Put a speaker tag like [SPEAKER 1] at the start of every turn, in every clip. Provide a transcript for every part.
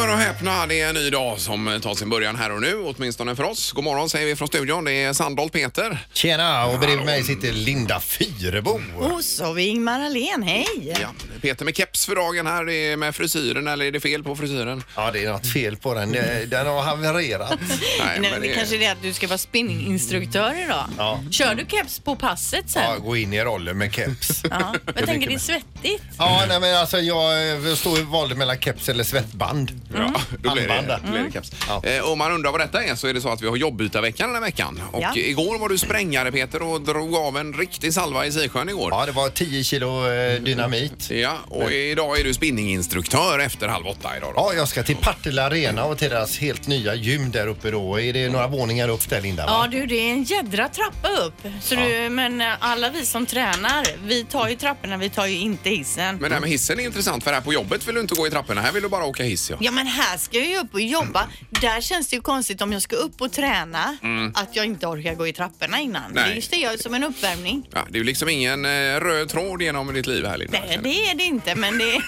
[SPEAKER 1] Ja, det är en ny dag som tar sin början här och nu, åtminstone för oss. God morgon säger vi från studion. Det är Sandholt Peter.
[SPEAKER 2] Tjena, och bredvid mig sitter Linda Fyrebo.
[SPEAKER 3] Och så vi Ingmar Ahlén, hej!
[SPEAKER 1] Ja. Peter med keps för dagen här. Det är med frisyren, eller är det fel på frisyren?
[SPEAKER 2] Ja, det är något fel på den. Eh, Den har havererat.
[SPEAKER 1] Nej,
[SPEAKER 3] Nej,
[SPEAKER 1] men
[SPEAKER 3] det kanske är det att du ska vara spinninginstruktör idag.
[SPEAKER 2] Ja.
[SPEAKER 3] Kör du keps på passet sen?
[SPEAKER 2] Ja, gå in i rollen med keps.
[SPEAKER 3] Ja.
[SPEAKER 2] Det är
[SPEAKER 3] Jag tänker det är
[SPEAKER 2] mycket
[SPEAKER 3] svettigt.
[SPEAKER 2] Ja, nej men alltså jag eh, stod och valde mellan keps eller svettband.
[SPEAKER 1] Ja, då blir det,
[SPEAKER 2] Armband. Mm.
[SPEAKER 1] då blir det keps.
[SPEAKER 2] Ja.
[SPEAKER 1] Eh, Om man undrar vad detta är så är det så att vi har jobbbytarveckan den här veckan. Och
[SPEAKER 3] Ja.
[SPEAKER 1] igår var du sprängare Peter och drog av en riktig salva i Sisjön igår.
[SPEAKER 2] Ja, det var 10 kilo eh, dynamit.
[SPEAKER 1] Ja, och idag är du spinninginstruktör efter halv åtta idag då.
[SPEAKER 2] Ja, jag ska till Partille Arena och till deras helt nya gym där uppe då. Är det några våningar upp där Linda?
[SPEAKER 3] Ja
[SPEAKER 2] Va?
[SPEAKER 3] du, det är en jädra trappa upp. Så du, men eh, alla vi som tränar, vi tar ju trapporna, vi tar ju inte hissen.
[SPEAKER 1] Men det här med hissen är intressant för här på jobbet vill du inte gå i trapporna. Här vill du bara åka hiss ja.
[SPEAKER 3] Ja men här ska jag ju upp och jobba. Där känns det ju konstigt om jag ska upp och träna att jag inte orkar gå i trapporna innan.
[SPEAKER 1] Nej.
[SPEAKER 3] Det är just det jag gör som en uppvärmning.
[SPEAKER 1] Ja, det är ju liksom ingen eh, röd tråd genom ditt liv här Linda.
[SPEAKER 3] Nej, det är det inte men det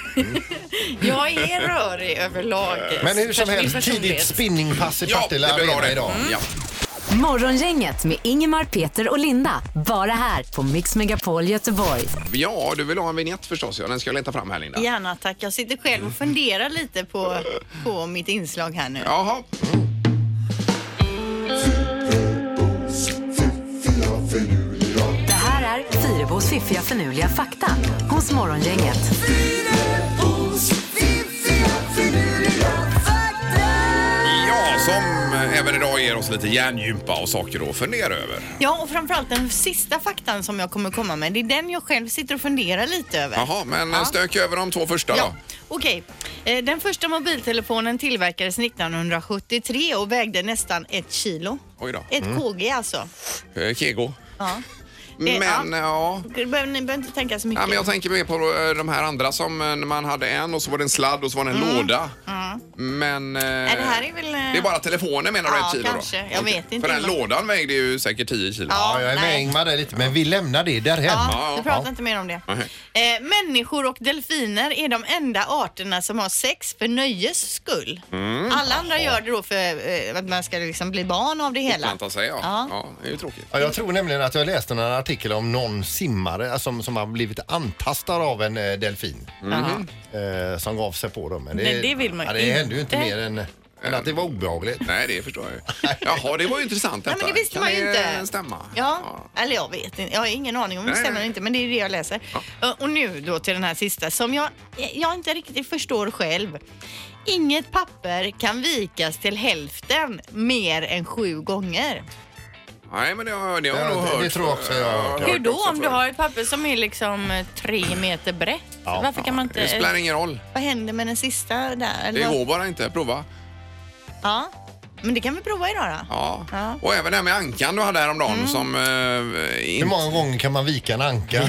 [SPEAKER 3] jag är rörig överlag.
[SPEAKER 2] Men hur som
[SPEAKER 3] Kanske min
[SPEAKER 2] helst, tidigt
[SPEAKER 3] personlighet.
[SPEAKER 2] spinningspass i
[SPEAKER 1] Ja, det
[SPEAKER 2] Partille
[SPEAKER 1] blir bra
[SPEAKER 2] Arena
[SPEAKER 1] det. Mm.
[SPEAKER 2] idag.
[SPEAKER 1] Ja.
[SPEAKER 4] Morgongänget med Ingemar, Peter och Linda. Bara här på Mix Megapol Göteborg.
[SPEAKER 1] ja, du vill ha en vignett förstås. Ja, den ska jag leta fram här Linda.
[SPEAKER 3] Gärna tack. Jag sitter själv och funderar lite på, på mitt inslag här nu.
[SPEAKER 1] Jaha.
[SPEAKER 4] Det här är Fyrabos fiffiga förnuliga fakta hos Morgongänget.
[SPEAKER 1] Ja, som eh, även idag ger oss lite hjärngympa och saker att fundera över.
[SPEAKER 3] Ja, och framförallt den sista faktan som jag kommer komma med, det är den jag själv sitter och funderar lite över.
[SPEAKER 1] Jaha, men eh,
[SPEAKER 3] Ja.
[SPEAKER 1] stök över de två första
[SPEAKER 3] Ja,
[SPEAKER 1] då.
[SPEAKER 3] okej. Eh, Den första mobiltelefonen tillverkades 1973 och vägde nästan ett kilo.
[SPEAKER 1] Oj då.
[SPEAKER 3] Ett
[SPEAKER 2] Mm.
[SPEAKER 3] kg alltså.
[SPEAKER 1] Eh, Kego.
[SPEAKER 3] Ja. Eh,
[SPEAKER 1] Men eh, ja.
[SPEAKER 3] Du behöver, ni behöver inte tänka så mycket.
[SPEAKER 1] Ja, men jag tänker mer på eh, de här andra som eh, när man hade en och så var det en sladd och så var det en låda. Men... eh,
[SPEAKER 3] Mm. det här är väl, eh,
[SPEAKER 1] Det är bara telefoner menar du
[SPEAKER 3] Ja,
[SPEAKER 1] ett kilo
[SPEAKER 3] kanske.
[SPEAKER 1] då?
[SPEAKER 3] Jag
[SPEAKER 1] Okej.
[SPEAKER 3] vet inte.
[SPEAKER 1] För den lådan vägde ju säkert 10 kilo.
[SPEAKER 2] Ja, jag är med
[SPEAKER 3] nej.
[SPEAKER 2] Ingmar där lite, men vi lämnar det därhän.
[SPEAKER 3] Ja, vi pratar
[SPEAKER 2] Ja.
[SPEAKER 3] inte mer om det.
[SPEAKER 1] Nej.
[SPEAKER 3] Eh, människor och delfiner är de enda arterna som har sex för nöjes skull.
[SPEAKER 1] Mm.
[SPEAKER 3] Alla andra gör det då för eh, att man ska liksom bli barn av det hela.
[SPEAKER 1] Vänta sig, ja.
[SPEAKER 3] Ja.
[SPEAKER 1] ja. Det är ju tråkigt.
[SPEAKER 2] Ja, jag tror nämligen att jag läste en artikel om någon simmare alltså, som, som har blivit antastad av en eh, delfin.
[SPEAKER 1] Mm.
[SPEAKER 3] Jaha.
[SPEAKER 2] Eh, som gav sig på dem. Men
[SPEAKER 3] Men Mm. det vill man
[SPEAKER 2] ja,
[SPEAKER 3] ju
[SPEAKER 2] Det hände ju inte
[SPEAKER 3] inte.
[SPEAKER 2] mer än, än att det var obehagligt.
[SPEAKER 1] Nej, det förstår jag ju. Jaha, det var ju intressant
[SPEAKER 3] Ja,
[SPEAKER 1] detta.
[SPEAKER 3] men det visste
[SPEAKER 1] kan
[SPEAKER 3] man ju
[SPEAKER 1] det
[SPEAKER 3] inte.
[SPEAKER 1] stämma?
[SPEAKER 3] Ja, eller jag vet inte. Jag har ingen aning om det
[SPEAKER 1] Nej,
[SPEAKER 3] stämmer
[SPEAKER 1] nej.
[SPEAKER 3] eller inte, men det är det jag läser. Eh, Och nu då till den här sista som jag, jag inte riktigt förstår själv. Inget papper kan vikas till hälften mer än sju gånger.
[SPEAKER 1] Nej, men det har, det har
[SPEAKER 2] Ja,
[SPEAKER 1] jag nog
[SPEAKER 2] det-
[SPEAKER 1] hört.
[SPEAKER 2] det tror jag också jag har hört.
[SPEAKER 1] hört
[SPEAKER 3] Hur då
[SPEAKER 1] också
[SPEAKER 3] om du
[SPEAKER 1] förr.
[SPEAKER 3] har ett papper som är liksom eh, tre meter brett?
[SPEAKER 2] Ja.
[SPEAKER 3] Varför kan man inte...
[SPEAKER 1] Det spelar ingen roll.
[SPEAKER 3] Vad händer med den sista där?
[SPEAKER 1] Det
[SPEAKER 3] Eller vad-
[SPEAKER 1] går bara inte. Prova.
[SPEAKER 3] Ja. Men det kan vi prova idag då.
[SPEAKER 1] Ja.
[SPEAKER 3] Ja. Mm.
[SPEAKER 1] Och även det här med ankan du hade häromdagen som... Eh,
[SPEAKER 2] Hur
[SPEAKER 1] in...
[SPEAKER 2] många gånger kan man vika en anka?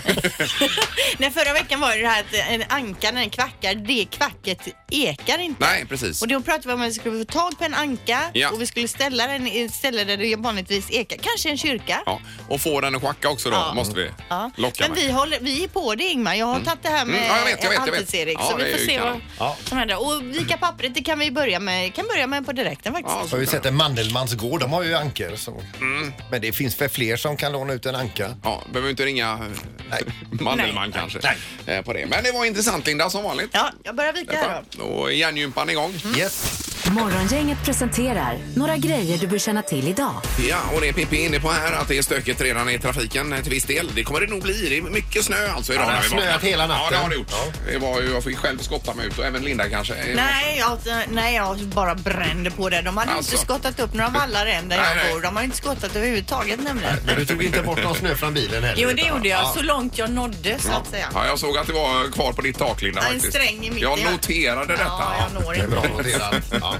[SPEAKER 3] Nej, förra veckan var det det här att eh, en anka när den kvackar, det kvacket ekar inte.
[SPEAKER 1] Nej, precis.
[SPEAKER 3] Och då pratade vi om att vi skulle få tag på en anka
[SPEAKER 1] Ja.
[SPEAKER 3] och vi skulle ställa den i ett ställe där det vanligtvis ekar. Kanske en kyrka.
[SPEAKER 1] Ja, och få den att schacka också då,
[SPEAKER 3] Ja.
[SPEAKER 1] måste vi
[SPEAKER 3] Ja.
[SPEAKER 1] locka
[SPEAKER 3] Men
[SPEAKER 1] med.
[SPEAKER 3] vi, håller, vi är på det Ingmar. Jag har tagit det här med
[SPEAKER 1] Mm, ja, jag vet, jag vet, jag vet.
[SPEAKER 3] Halvtids-Erik.
[SPEAKER 1] Ja,
[SPEAKER 3] så
[SPEAKER 1] det
[SPEAKER 3] vi
[SPEAKER 1] är
[SPEAKER 3] får
[SPEAKER 1] ju
[SPEAKER 3] se vad
[SPEAKER 1] kanon.
[SPEAKER 2] Ja.
[SPEAKER 3] som händer. Och vika pappret det kan vi börja med, kan börja med på direkten faktiskt.
[SPEAKER 1] Ja,
[SPEAKER 2] Jag har
[SPEAKER 1] så
[SPEAKER 2] ju
[SPEAKER 1] kan
[SPEAKER 2] sett en Mandelmans gård, de har ju ankor. Så.
[SPEAKER 3] Mm.
[SPEAKER 2] Men det finns väl fler som kan låna ut en anka?
[SPEAKER 1] Ja, behöver inte ringa
[SPEAKER 2] Nej.
[SPEAKER 1] Mandelmann
[SPEAKER 3] Nej.
[SPEAKER 1] kanske.
[SPEAKER 2] Nej.
[SPEAKER 1] eh, På det. Men det var intressant Linda, som vanligt.
[SPEAKER 3] Ja, jag börjar vika här då.
[SPEAKER 1] Och hjärngympan igång.
[SPEAKER 2] Yes.
[SPEAKER 4] Morgongänget presenterar några grejer du bör känna till idag.
[SPEAKER 1] Ja, och det är Pippi inne på här, att det är stökigt redan i trafiken eh, till viss del. Det kommer det nog bli. Det är mycket snö alltså idag.
[SPEAKER 2] Ja, det har
[SPEAKER 1] när vi
[SPEAKER 2] snöat
[SPEAKER 1] vaknar.
[SPEAKER 2] hela natten.
[SPEAKER 1] Ja, det har det gjort. Det var ju, jag fick själv skotta mig ut och även Linda kanske.
[SPEAKER 3] Nej jag, nej, jag bara brände på det. De hade
[SPEAKER 1] Alltså.
[SPEAKER 3] inte skottat upp några vallar än där
[SPEAKER 1] Nej,
[SPEAKER 3] jag
[SPEAKER 1] nej.
[SPEAKER 3] bor. De har inte skottat överhuvudtaget nämligen.
[SPEAKER 2] Men du tog inte bort någon snö från bilen heller?
[SPEAKER 3] Jo, det gjorde jag.
[SPEAKER 2] Ja.
[SPEAKER 3] Så långt jag nådde så att säga.
[SPEAKER 1] Ja, jag såg att det var kvar på ditt tak Linda.
[SPEAKER 3] Ja, en
[SPEAKER 1] faktiskt.
[SPEAKER 3] sträng i mitten,
[SPEAKER 1] Jag
[SPEAKER 3] ja.
[SPEAKER 1] noterade detta.
[SPEAKER 3] Ja, jag når
[SPEAKER 2] Det är
[SPEAKER 3] inte.
[SPEAKER 2] bra noterat. Ja.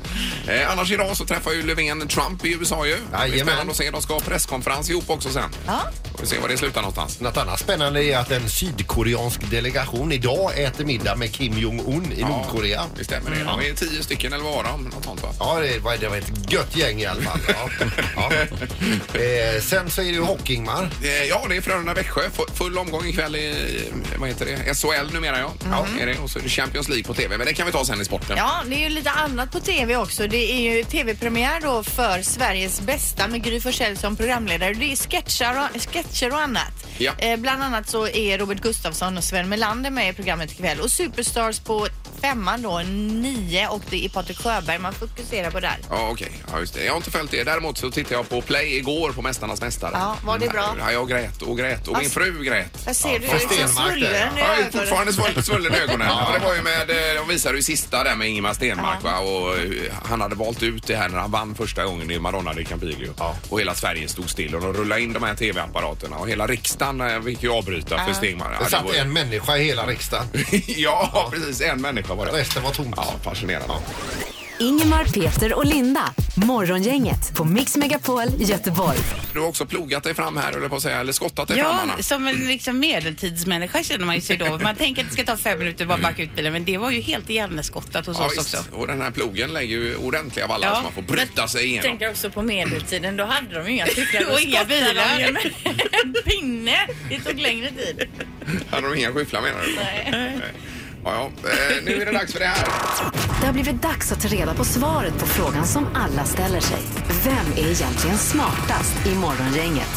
[SPEAKER 1] Eh, annars idag så träffar ju Löfven Trump i USA ju. Det blir
[SPEAKER 2] Jajamän.
[SPEAKER 1] spännande att se. De ska ha presskonferens ihop också sen.
[SPEAKER 3] Ja.
[SPEAKER 1] Vi får se var det slutar någonstans.
[SPEAKER 2] Något annat spännande är att en sydkoreansk delegation idag äter middag med Kim Jong-Un i Nordkorea.
[SPEAKER 1] Det stämmer det. De är tio stycken eller vad var de? Något sånt va?
[SPEAKER 2] Ja, det var, det var ett gött gäng i alla fall. Ja. Ja. Eh, sen så är det ju Hockingmar.
[SPEAKER 1] Eh, Ja, det är Frölunda-Växjö. Fu- Full omgång ikväll i vad heter det? SHL numera ja. ja är det. Och så är det Champions League på TV. Men det kan vi ta sen i sporten.
[SPEAKER 3] Mhm. Ja, det är ju lite annat på tv också. Det är ju tv-premiär då för Sveriges bästa med Gry Forssell som programledare. Det är sketcher och, sketcher och annat.
[SPEAKER 1] Ja.
[SPEAKER 3] Eh, bland annat så är Robert Gustafsson och Sven Melander med i programmet ikväll. Och Superstars på femman då, nio och det är Patrik Sjöberg man fokuserar på där.
[SPEAKER 1] Ja, okej. Ja, just det. Jag har inte följt det. Däremot så tittade jag på Play igår på Mästarnas Mästare.
[SPEAKER 3] Ja, var det bra?
[SPEAKER 1] Ja, jag grät och grät och min
[SPEAKER 3] Fast-
[SPEAKER 1] fru grät.
[SPEAKER 3] Jag ser
[SPEAKER 2] Ja,
[SPEAKER 3] du
[SPEAKER 2] från
[SPEAKER 3] är liksom
[SPEAKER 2] Stenmark där,
[SPEAKER 3] svullen i
[SPEAKER 1] Ja, jag är
[SPEAKER 3] ögonen.
[SPEAKER 1] fortfarande svull- svullen i ögonen. ja. Det var ju med, eh, de visade ju sista där med Ingemar Stenmark va? och eh, han hade valt ut det här när han vann första gången i Madonna di Campiglio. Och hela Sverige stod still och de rullade in de här tv-apparaterna och hela riksdagen eh, fick ju avbryta för Stenmark. Ja,
[SPEAKER 2] Det satt
[SPEAKER 1] var-
[SPEAKER 2] en människa i hela riksdagen.
[SPEAKER 1] ja, precis. En människa var det.
[SPEAKER 2] Resten var tomt.
[SPEAKER 1] Ja, fascinerande.
[SPEAKER 4] Ingemar, Peter och Linda. Morgongänget på Mix Megapol Göteborg.
[SPEAKER 1] Du har också plogat dig fram här, eller på att säga, eller skottat dig fram,
[SPEAKER 5] Ja,
[SPEAKER 1] Anna.
[SPEAKER 5] som en liksom medeltidsmänniska känner man ju sig då. Man tänker att det ska ta fem minuter bara backa ut bilen, men det var ju helt ihjärnskottat hos
[SPEAKER 1] Ja,
[SPEAKER 5] oss
[SPEAKER 1] visst.
[SPEAKER 5] också.
[SPEAKER 1] Och den här plogen lägger ju ordentliga vallar
[SPEAKER 5] Ja.
[SPEAKER 1] som man får bryta sig igenom.
[SPEAKER 3] Tänker också på medeltiden, då hade de ju inga cyklar. Då
[SPEAKER 5] Och inga
[SPEAKER 3] skottade de
[SPEAKER 5] bilar.
[SPEAKER 3] ju med En pinne. Det tog längre tid.
[SPEAKER 1] Hade de inga skyfflar menar du? Nej. Ja, ja. Eh, nu är det dags för det här.
[SPEAKER 4] Det har blivit dags att ta reda på svaret på frågan som alla ställer sig. Vem är egentligen smartast i Morgongänget?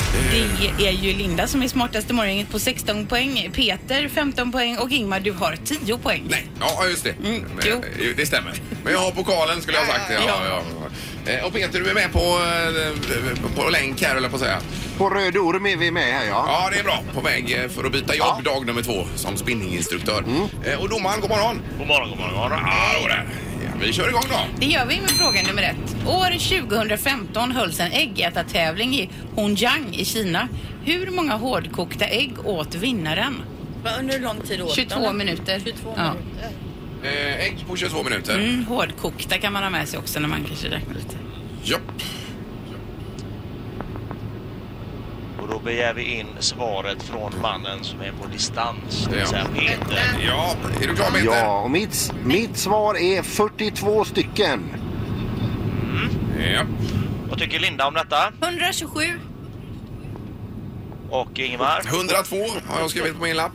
[SPEAKER 5] Det är ju Linda som är smartast i morgonen på 16 poäng, Peter 15 poäng och Ingmar du har 10 poäng.
[SPEAKER 1] Nej, ja just det.
[SPEAKER 5] Mm,
[SPEAKER 1] Men,
[SPEAKER 5] jo.
[SPEAKER 1] eh, det stämmer. Men jag har pokalen skulle jag ha sagt. Ja, ja. ja. Eh, Och Peter, du är med på, eh, på länk här, eller på att säga.
[SPEAKER 6] På Röde Orm är vi med här ja.
[SPEAKER 1] Ja, det är bra. På väg eh, för att byta jobb dag nummer två som spinninginstruktör.
[SPEAKER 5] Mm.
[SPEAKER 1] Eh, Och domaren, god morgon. God morgon, god morgon. Ja, då där. ja, vi kör igång då.
[SPEAKER 5] Det gör vi med fråga nummer ett. År 2015 hölls en äggätartävling i Hongjiang i Kina. Hur många hårdkokta ägg åt vinnaren?
[SPEAKER 3] Men Under hur lång tid åt
[SPEAKER 5] 22
[SPEAKER 3] de?
[SPEAKER 5] minuter.
[SPEAKER 3] 22
[SPEAKER 5] Ja.
[SPEAKER 3] minuter.
[SPEAKER 1] Eh, Ägg på 22 minuter.
[SPEAKER 5] Mm, hårdkokta kan man ha med sig också när man kanske räknar lite. Mm,
[SPEAKER 1] Japp.
[SPEAKER 7] Och då begär vi in svaret från mannen som är på distans, det vill säga
[SPEAKER 1] Ja.
[SPEAKER 7] Peter.
[SPEAKER 1] Ja, är du klar Peter?
[SPEAKER 6] Ja, och mitt, mitt svar är 42 stycken.
[SPEAKER 1] Ja.
[SPEAKER 7] Vad tycker Linda om detta?
[SPEAKER 3] 127.
[SPEAKER 7] Och Ingemar?
[SPEAKER 1] 102 har jag skrivit på min lapp.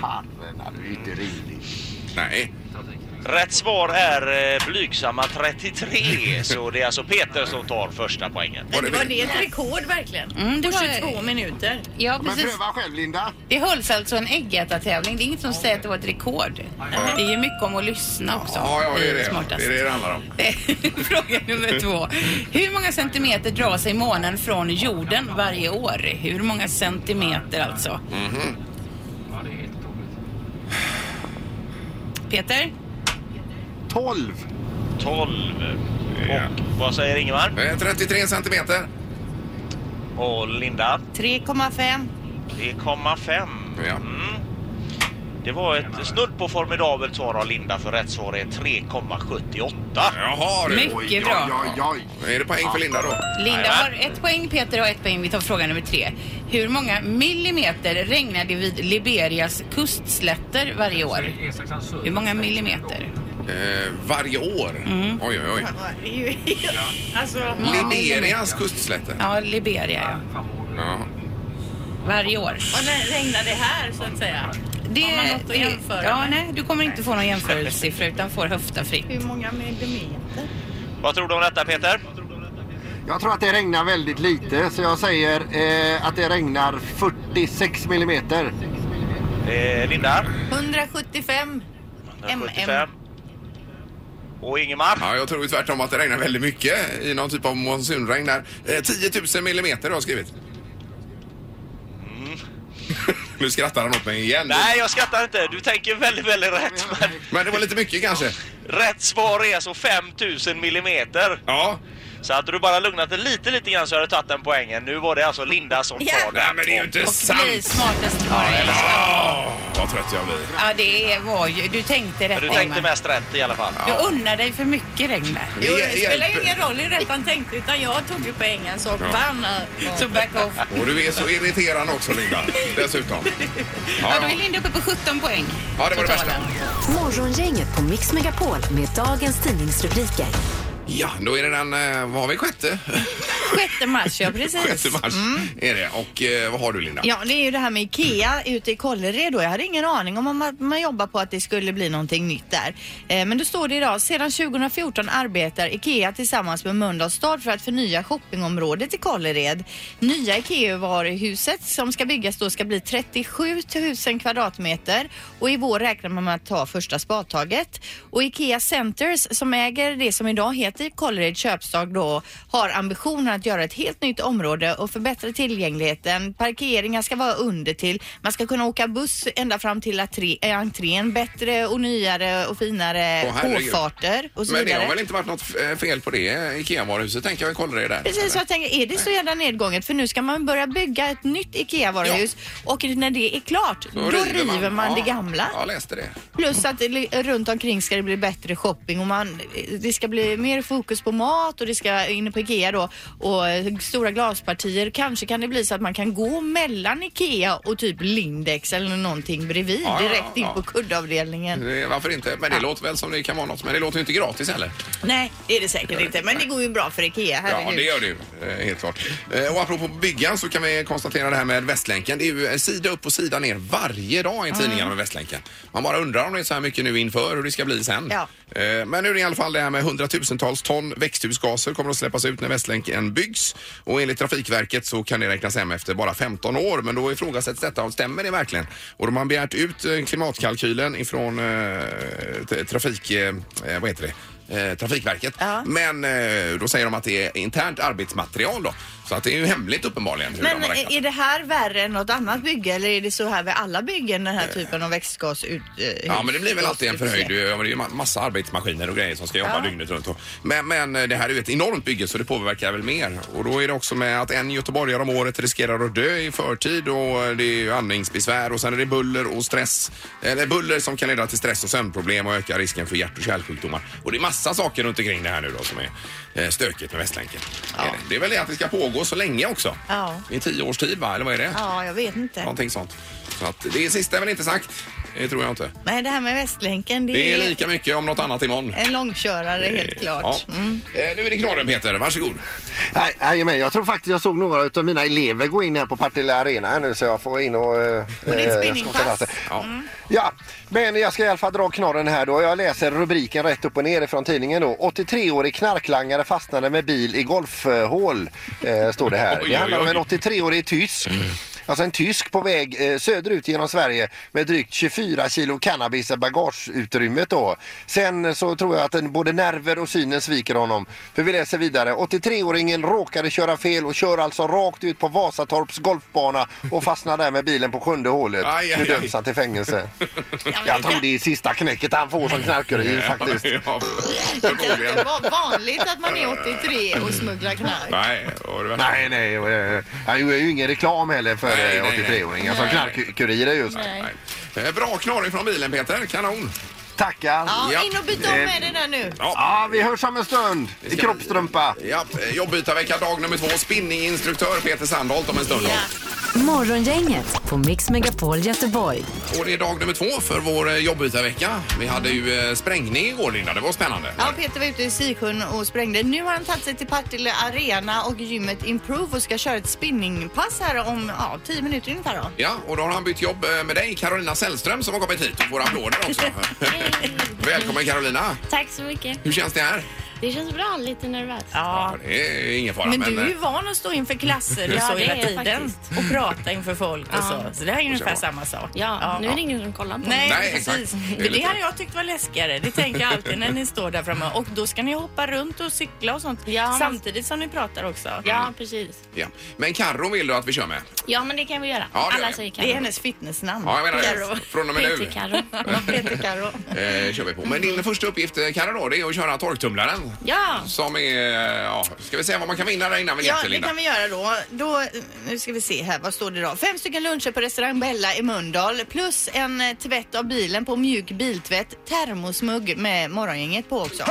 [SPEAKER 6] Herrarna, det är inte rimligt.
[SPEAKER 1] Nej.
[SPEAKER 7] Rätt svar är eh, blygsamma 33, så det är alltså Peter som tar första poängen.
[SPEAKER 1] Var det
[SPEAKER 3] Var
[SPEAKER 1] vi?
[SPEAKER 3] det ett rekord verkligen?
[SPEAKER 5] Mm, det
[SPEAKER 3] på
[SPEAKER 5] var-
[SPEAKER 3] 22 minuter.
[SPEAKER 5] Ja,
[SPEAKER 6] Men
[SPEAKER 5] precis.
[SPEAKER 6] pröva själv Linda.
[SPEAKER 5] Det hölls alltså en äggätartävling. Det är inget som säger att det var ett rekord. Det är ju mycket om att lyssna också.
[SPEAKER 1] Ja, ja, det är det.
[SPEAKER 5] Smartast.
[SPEAKER 1] Det är det det handlar om.
[SPEAKER 5] Fråga nummer två. Hur många centimeter drar sig månen från jorden varje år? Hur många centimeter alltså?
[SPEAKER 1] Mhm.
[SPEAKER 5] Peter?
[SPEAKER 6] 12.
[SPEAKER 7] 12. Och vad säger Ingemar?
[SPEAKER 1] Eh, 33 centimeter.
[SPEAKER 7] Och Linda?
[SPEAKER 3] 3,5.
[SPEAKER 7] 3,5.
[SPEAKER 1] Ja.
[SPEAKER 7] Mm. Det var ett snudd på formidabelt svar av Linda för rätt svar är 3,78.
[SPEAKER 1] Jaha du.
[SPEAKER 5] Mycket
[SPEAKER 1] Oj,
[SPEAKER 5] bra.
[SPEAKER 1] oj, oj, oj. Är det poäng för Linda då?
[SPEAKER 5] Linda har ett poäng, Peter har ett poäng. Vi tar fråga nummer tre. Hur många millimeter regnar det vid Liberias kustslätter varje år? Hur många millimeter?
[SPEAKER 1] Eh, varje år?
[SPEAKER 5] Mm.
[SPEAKER 1] Oj, oj, oj.
[SPEAKER 3] Alltså,
[SPEAKER 1] Liberias kustslätter.
[SPEAKER 5] Ja, Liberia ja.
[SPEAKER 1] Ja.
[SPEAKER 5] Varje år.
[SPEAKER 3] och när regnar det här så att säga?
[SPEAKER 5] Det,
[SPEAKER 3] Har man något att jämföra
[SPEAKER 5] ja,
[SPEAKER 3] med?
[SPEAKER 5] nej, du kommer inte få någon jämförelsesiffra utan får höfta fritt.
[SPEAKER 3] Hur många millimeter?
[SPEAKER 7] Vad tror du om detta Peter?
[SPEAKER 6] Jag tror att det regnar väldigt lite så jag säger eh, att det regnar 46 millimeter.
[SPEAKER 7] Eh, Linda?
[SPEAKER 3] 175. MM.
[SPEAKER 7] 75. Och Ingemar?
[SPEAKER 1] ja, jag tror ju tvärtom att det regnar väldigt mycket i någon typ av monsunregn där. Eh, 10 000 millimeter har jag skrivit. Mm. nu skrattar han åt mig igen.
[SPEAKER 7] Nej, jag skrattar inte. Du tänker väldigt, väldigt rätt. Men
[SPEAKER 1] Men det var lite mycket kanske.
[SPEAKER 7] rätt svar är alltså 5000 millimeter.
[SPEAKER 1] Ja.
[SPEAKER 7] Så hade du bara lugnat dig lite, lite grann så hade du tagit den poängen. Nu var det alltså Linda som
[SPEAKER 5] Ja.
[SPEAKER 7] tar den.
[SPEAKER 1] Nej men det är ju inte
[SPEAKER 5] Och bli
[SPEAKER 1] sant!
[SPEAKER 5] smartast var det.
[SPEAKER 1] Åh, vad trött jag blir.
[SPEAKER 5] Ja, det var ju... Du tänkte rätt,
[SPEAKER 7] Men du tänkte
[SPEAKER 5] Ingmar.
[SPEAKER 7] mest rätt i alla fall.
[SPEAKER 5] Du unnar dig för mycket, Regner.
[SPEAKER 1] Jo, det Hjälp. spelar ju ingen
[SPEAKER 3] roll hur rätt han tänkte utan jag tog ju poängen så vann
[SPEAKER 5] Så back off.
[SPEAKER 1] Och du är så irriterande också Linda, dessutom.
[SPEAKER 5] Ja, då
[SPEAKER 1] Ja,
[SPEAKER 5] är Linda uppe på 17 poäng.
[SPEAKER 1] Ja, det var det
[SPEAKER 5] Totalen.
[SPEAKER 1] värsta.
[SPEAKER 4] Morgongänget på Mix Megapol med dagens tidningsrubriker.
[SPEAKER 1] ja, då är det den, eh, vad har vi, sjätte?
[SPEAKER 3] 6 mars, ja precis.
[SPEAKER 1] Sjätte mars är det. Och eh, vad har du Linda?
[SPEAKER 3] Ja, det är ju det här med IKEA ute i Kållered då. Jag hade ingen aning om man, man jobbar på att det skulle bli någonting nytt där. Eh, men då står det idag, sedan 2014 arbetar IKEA tillsammans med Mölndals stad för att förnya shoppingområdet i Kållered. Nya IKEA-varuhuset som ska byggas då ska bli 37 000 kvadratmeter och i vår räknar man med att ta första spadtaget. Och IKEA Centers som äger det som idag heter Kållered köpstad då har ambitionen att göra ett helt nytt område och förbättra tillgängligheten. Parkeringar ska vara under till. Man ska kunna åka buss ända fram till atre- eh, entrén. Bättre och nyare och finare
[SPEAKER 1] Åh, herregud.
[SPEAKER 3] påfarter och så
[SPEAKER 1] Men det
[SPEAKER 3] vidare.
[SPEAKER 1] har väl inte varit något eh, fel på det eh, IKEA-varuhuset tänker jag. Kolla det där.
[SPEAKER 3] Precis, så jag tänker, är det så jävla nedgånget? För nu ska man börja bygga ett nytt IKEA-varuhus och när det är klart,
[SPEAKER 1] Så
[SPEAKER 3] då river man, det
[SPEAKER 1] Ja,
[SPEAKER 3] gamla.
[SPEAKER 1] Jag läste det.
[SPEAKER 3] Plus att det li- runt omkring ska det bli bättre shopping och man, det ska bli mer fokus på mat och det ska inne på IKEA då och eh, stora glaspartier. Kanske kan det bli så att man kan gå mellan IKEA och typ Lindex eller någonting bredvid
[SPEAKER 1] Ja, ja,
[SPEAKER 3] direkt in
[SPEAKER 1] ja. Mm.
[SPEAKER 3] på kuddavdelningen.
[SPEAKER 1] Det- Varför inte? Men det låter väl som det kan vara något. Men det låter ju inte gratis heller.
[SPEAKER 3] Nej, det är det säkert inte. Men det går ju bra för IKEA,
[SPEAKER 1] Mm. Ja, det
[SPEAKER 3] herregud.
[SPEAKER 1] gör det ju. eh, Helt klart. Eh, Och apropå byggan så kan vi konstatera det här med Västlänken. Det är ju eh, sida upp och sida ner varje dag i
[SPEAKER 3] Mm.
[SPEAKER 1] tidningarna med Västlänken. Man bara undrar om det är så här mycket nu inför hur det ska bli sen.
[SPEAKER 3] Ja.
[SPEAKER 1] Eh, Men nu är det i alla fall det här med hundratusentals ton växthusgaser kommer att släppas ut när Västlänken byggs. Och enligt Trafikverket så kan det räknas hem efter bara 15 år. Men då ifrågasätts detta om stämmer det verkligen? Och de har begärt ut eh, klimatkalkylen ifrån eh, t- trafik... Eh, vad heter det? Eh, Trafikverket.
[SPEAKER 3] Ja.
[SPEAKER 1] Men eh, då säger de att det är internt arbetsmaterial då. Så att det är ju hemligt uppenbarligen hur
[SPEAKER 3] Men eh,
[SPEAKER 1] de har räknat.
[SPEAKER 3] är är det här värre än något annat bygge eller är det så här vid alla byggen den här typen av växtgas ut, eh,
[SPEAKER 1] Eh. Ja, men det blir väl alltid en förhöjd. eh,
[SPEAKER 3] utsläpp?
[SPEAKER 1] Det är ju ma- massa arbetsmaskiner och grejer som ska jobba
[SPEAKER 3] Ja.
[SPEAKER 1] dygnet runt. och- Men, men eh, det här är ju ett enormt bygge så det påverkar väl mer. Och då är det också med att en göteborgare om året riskerar att dö i förtid och det är ju andningsbesvär och sen är det buller och stress. Eller buller som kan leda till stress och sömnproblem och öka risken för hjärt och kärlsjukdomar. Och det är massa saker runt omkring det här nu då som är eh, stökigt med Västlänken. Är det. det är väl det att det ska pågå så länge också.
[SPEAKER 3] Ja.
[SPEAKER 1] I tio års tid va, eller vad är det?
[SPEAKER 3] Ja, jag vet inte.
[SPEAKER 1] Någonting sånt. Så att det är sista är väl inte sagt. Det tror jag inte.
[SPEAKER 3] Nej, det här med Västlänken, det,
[SPEAKER 1] Det är
[SPEAKER 3] är
[SPEAKER 1] lika mycket om något annat imorgon.
[SPEAKER 3] en långkörare Eh, helt klart.
[SPEAKER 1] Eh, Ja.
[SPEAKER 3] Mm.
[SPEAKER 1] Eh, Nu är det knorren Peter, varsågod.
[SPEAKER 6] Nej, nej, men jag tror faktiskt jag såg några av mina elever gå in här på Partille Arena här nu så jag får in och... eh,
[SPEAKER 3] är ett
[SPEAKER 6] eh,
[SPEAKER 3] spinningpass.
[SPEAKER 6] skotta lasse.
[SPEAKER 1] Ja.
[SPEAKER 6] Ja, men jag ska i alla fall dra knorren här då. Jag läser rubriken rätt upp och ner ifrån tidningen då. 83-årig knarklangare fastnade med bil i golfhål, eh, står det här.
[SPEAKER 1] Oj,
[SPEAKER 6] Det handlar om
[SPEAKER 1] oj, Mm.
[SPEAKER 6] en
[SPEAKER 1] oj.
[SPEAKER 6] 83-årig tysk. Alltså en tysk på väg eh, söderut genom Sverige med drygt 24 kilo cannabis i bagageutrymmet då. Sen så tror jag att den, både nerver och synen sviker honom. För vi läser vidare. 83-åringen råkade köra fel och kör alltså rakt ut på Vasatorps golfbana och fastnar där med bilen på sjunde hålet.
[SPEAKER 1] Aj, aj,
[SPEAKER 6] Nu
[SPEAKER 1] aj.
[SPEAKER 6] döms han till fängelse. Jag tror det är sista knäcket han får som knarkkurir Mm, faktiskt.
[SPEAKER 1] Eh, Ja,
[SPEAKER 3] Det
[SPEAKER 1] förmodligen.
[SPEAKER 3] var vanligt att man är 83 och smugglar knark.
[SPEAKER 1] Nej, och det värsta-
[SPEAKER 6] Nej, nej, och, eh, han gör ju ingen reklam heller för
[SPEAKER 1] Nej,
[SPEAKER 6] eh,
[SPEAKER 1] nej, nej.
[SPEAKER 6] 83-åringar som knarkkurirer just.
[SPEAKER 1] Nej. Eh, Bra knorring från bilen Peter, kanon.
[SPEAKER 6] Tackar!
[SPEAKER 3] Ja,
[SPEAKER 1] Ja.
[SPEAKER 3] in och byt om med det där nu.
[SPEAKER 6] Ja, vi hörs om en stund i
[SPEAKER 1] ska-
[SPEAKER 6] kroppstrumpa.
[SPEAKER 1] Ja, eh, jobbbytarvecka dag nummer två, spinninginstruktör Peter Sandholt om en stund. då.
[SPEAKER 4] Morgongänget på Mix Megapol Göteborg.
[SPEAKER 1] Och det är dag nummer två för vår eh, jobbbytarvecka. Vi hade ju eh, sprängning igår Linda, det var spännande.
[SPEAKER 3] Ja, Peter var ute i Siksjön och sprängde. Nu har han tagit sig till Partille Arena och gymmet Improve och ska köra ett spinningpass här om ja, 10 minuter ungefär. Då.
[SPEAKER 1] Ja, och då har han bytt jobb eh, med dig, Carolina Sällström som har kommit hit och får applåder också. Välkommen Carolina!
[SPEAKER 8] Tack så mycket.
[SPEAKER 1] Hur känns det här?
[SPEAKER 8] Det känns bra, lite nervös.
[SPEAKER 1] Ja, det är ingen fara.
[SPEAKER 9] Men du är
[SPEAKER 1] eh,
[SPEAKER 9] ju van att stå inför klasser och
[SPEAKER 8] Ja,
[SPEAKER 9] så
[SPEAKER 8] det
[SPEAKER 9] hela
[SPEAKER 8] är jag
[SPEAKER 9] tiden
[SPEAKER 8] faktiskt.
[SPEAKER 9] och prata inför folk och så. Så det här är ungefär
[SPEAKER 1] vara.
[SPEAKER 9] samma sak.
[SPEAKER 8] Ja, nu är det ingen som kollar på
[SPEAKER 9] Nej,
[SPEAKER 8] mig.
[SPEAKER 1] Nej,
[SPEAKER 9] precis.
[SPEAKER 1] exakt. Det är
[SPEAKER 9] Det,
[SPEAKER 1] lite-
[SPEAKER 9] hade jag tyckt var läskigare. Det tänker jag alltid när ni står där framme. Och då ska ni hoppa runt och cykla och sånt
[SPEAKER 8] Ja, men-
[SPEAKER 9] samtidigt som ni pratar också.
[SPEAKER 8] Ja, precis.
[SPEAKER 1] Ja. Men Carro vill du att vi kör med?
[SPEAKER 8] Ja, men det kan vi göra.
[SPEAKER 1] Ja, det gör
[SPEAKER 8] Alla
[SPEAKER 1] vi.
[SPEAKER 8] säger Karo.
[SPEAKER 3] Det är hennes fitnessnamn.
[SPEAKER 1] Ja, jag menar
[SPEAKER 8] Karo.
[SPEAKER 1] det. Från och med nu
[SPEAKER 8] Peter Karo.
[SPEAKER 3] Peter Karo.
[SPEAKER 1] eh, kör vi på. Men din första uppgift, eh, Carro, då, det är att köra torktumlaren. Örebro.
[SPEAKER 8] Ja.
[SPEAKER 1] Som är, eh, ja, ska vi säga vad man kan vinna där innan vi
[SPEAKER 3] Ja,
[SPEAKER 1] hjälper
[SPEAKER 3] det
[SPEAKER 1] Linda?
[SPEAKER 3] kan vi göra då. då. Nu ska vi se här, vad står det då? Fem stycken luncher på restaurang Bella i Mölndal plus en eh, tvätt av bilen på mjuk biltvätt, termosmugg med morgongänget på också.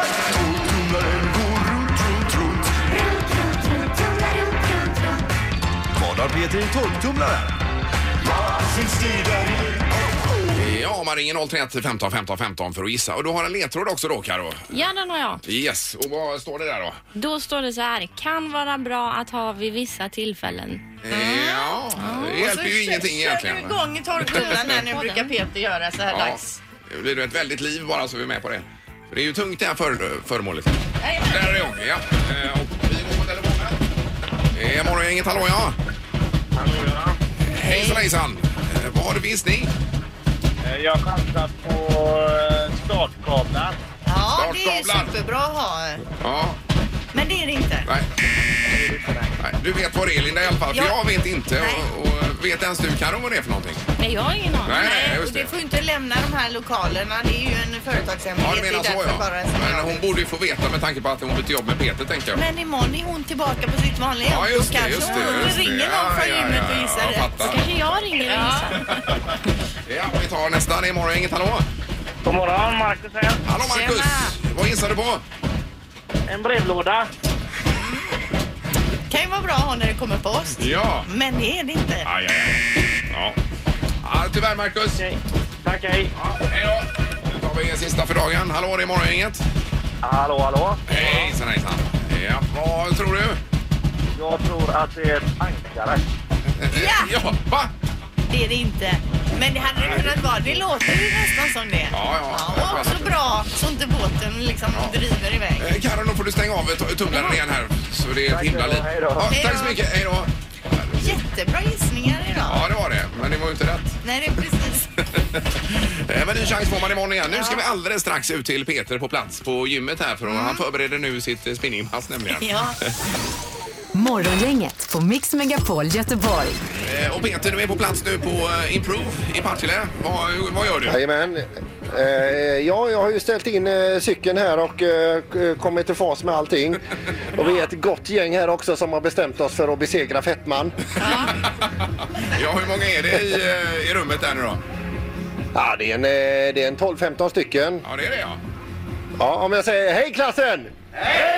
[SPEAKER 10] Vad har Peter i tolvtumlaren?
[SPEAKER 1] Ja, man ringer 031 15 15 15 för att gissa. Och du har en ledtråd också då, Karo.
[SPEAKER 8] Ja, den har jag.
[SPEAKER 1] Yes, och vad står det där då?
[SPEAKER 8] Då står det så här. Kan vara bra att ha vid vissa tillfällen.
[SPEAKER 1] Ja, det hjälper ju ingenting egentligen.
[SPEAKER 3] Kör du igång torktumlaren här nu brukar Peter göra så här
[SPEAKER 1] Ja,
[SPEAKER 3] dags.
[SPEAKER 1] det blir ett väldigt liv bara så vi är med på det. För det är ju tungt det här för, föremålet.
[SPEAKER 3] Jajamän.
[SPEAKER 1] Där är jag, ja. Eh, Och vi går på telefonen. Det är morgongänget, hallå ja. Hallå ja. Hejsan hejsan. Eh, Vad har du för gissning?
[SPEAKER 7] Eh, Jag chansar på eh, startkablar.
[SPEAKER 3] Ja, det är
[SPEAKER 1] Startkablar.
[SPEAKER 3] superbra att ha.
[SPEAKER 1] Ja,
[SPEAKER 3] Men det är det inte.
[SPEAKER 1] nej. nej. Du vet vad det är Linda i alla fall, för
[SPEAKER 3] Ja.
[SPEAKER 1] jag vet inte.
[SPEAKER 3] Nej.
[SPEAKER 1] Och, och vet ens du Karo vad det är för någonting?
[SPEAKER 8] Nej, jag har ingen aning.
[SPEAKER 1] Nej, nej,
[SPEAKER 3] Nej, och
[SPEAKER 1] just
[SPEAKER 3] du
[SPEAKER 1] det.
[SPEAKER 3] får inte lämna de här lokalerna. Det är ju en
[SPEAKER 1] Ja,
[SPEAKER 3] företagshemlighet.
[SPEAKER 1] du menar
[SPEAKER 3] Det är
[SPEAKER 1] så
[SPEAKER 3] därför
[SPEAKER 1] ja.
[SPEAKER 3] bara en sån här-
[SPEAKER 1] Men hon borde ju få veta med tanke på att hon bytte jobb med Peter, tänker jag.
[SPEAKER 3] Men imorgon är hon tillbaka på sitt vanliga
[SPEAKER 1] Ja,
[SPEAKER 3] jobb.
[SPEAKER 1] just
[SPEAKER 3] Då
[SPEAKER 1] det,
[SPEAKER 3] kanske
[SPEAKER 1] just det,
[SPEAKER 3] hon
[SPEAKER 1] just det.
[SPEAKER 3] ringer någon
[SPEAKER 1] Ja,
[SPEAKER 3] från
[SPEAKER 1] ja,
[SPEAKER 3] gymmet
[SPEAKER 1] ja,
[SPEAKER 3] och gissar
[SPEAKER 1] ja, jag
[SPEAKER 3] rätt.
[SPEAKER 1] fattar.
[SPEAKER 8] Kanske jag ringer och gissar.
[SPEAKER 1] Ja, vi tar nästa. Det är morgongänget, hallå.
[SPEAKER 7] God morgon, Marcus här.
[SPEAKER 1] Hallå Marcus! Vad gissar du på?
[SPEAKER 7] En brevlåda.
[SPEAKER 3] kan ju vara bra att ha när det kommer på oss.
[SPEAKER 1] Ja!
[SPEAKER 3] Men det är det inte.
[SPEAKER 1] Aj, aj, aj. Ja. ja tyvärr Marcus.
[SPEAKER 7] Okej. Tack, hej.
[SPEAKER 1] Ja, hej då! Nu tar vi en sista för dagen. Hallå, det är morgongänget.
[SPEAKER 7] Hallå, hallå.
[SPEAKER 1] Hejsan, hejsan. Ja, vad tror du?
[SPEAKER 7] Jag tror att det är ett ankare.
[SPEAKER 3] Ja!
[SPEAKER 1] ja va?
[SPEAKER 3] Det är det inte. Men det hade det kunnat vara. Det låter ju nästan som det.
[SPEAKER 1] Ja, ja.
[SPEAKER 3] och också bra så inte båten liksom driver iväg.
[SPEAKER 1] Eh, Karin, då får du stänga av t- tumlaren igen här. Så det är ett
[SPEAKER 7] Tack,
[SPEAKER 1] himla liv.
[SPEAKER 7] hej då.
[SPEAKER 1] Ja,
[SPEAKER 3] Hej
[SPEAKER 1] tack
[SPEAKER 3] då.
[SPEAKER 1] så mycket, hej då.
[SPEAKER 3] Jättebra gissningar idag.
[SPEAKER 1] Ja, det var det. Men det var ju inte rätt.
[SPEAKER 3] Nej, det är precis.
[SPEAKER 1] Eh, Men ny chans får man imorgon igen. Nu ska vi alldeles strax ut till Peter på plats på gymmet här för han förbereder nu sitt eh, spinningpass nämligen.
[SPEAKER 3] Ja.
[SPEAKER 4] Morgongänget på Mix Megapol Göteborg.
[SPEAKER 1] Eh, Och Peter, du är på plats nu på eh, Improve i Partille. Vad, hur- vad gör du?
[SPEAKER 6] Jajamän. Eh, ja, jag har ju ställt in eh, cykeln här och eh, k- kommit i fas med allting. Och vi är ett gott gäng här också som har bestämt oss för att besegra Fettman.
[SPEAKER 1] Ja, hur många är det i, eh, i rummet där nu då?
[SPEAKER 6] Ja, det är en, eh, det är en 12-15 stycken.
[SPEAKER 1] Ja, det är det ja.
[SPEAKER 6] Ja, om jag säger hej klassen! Hej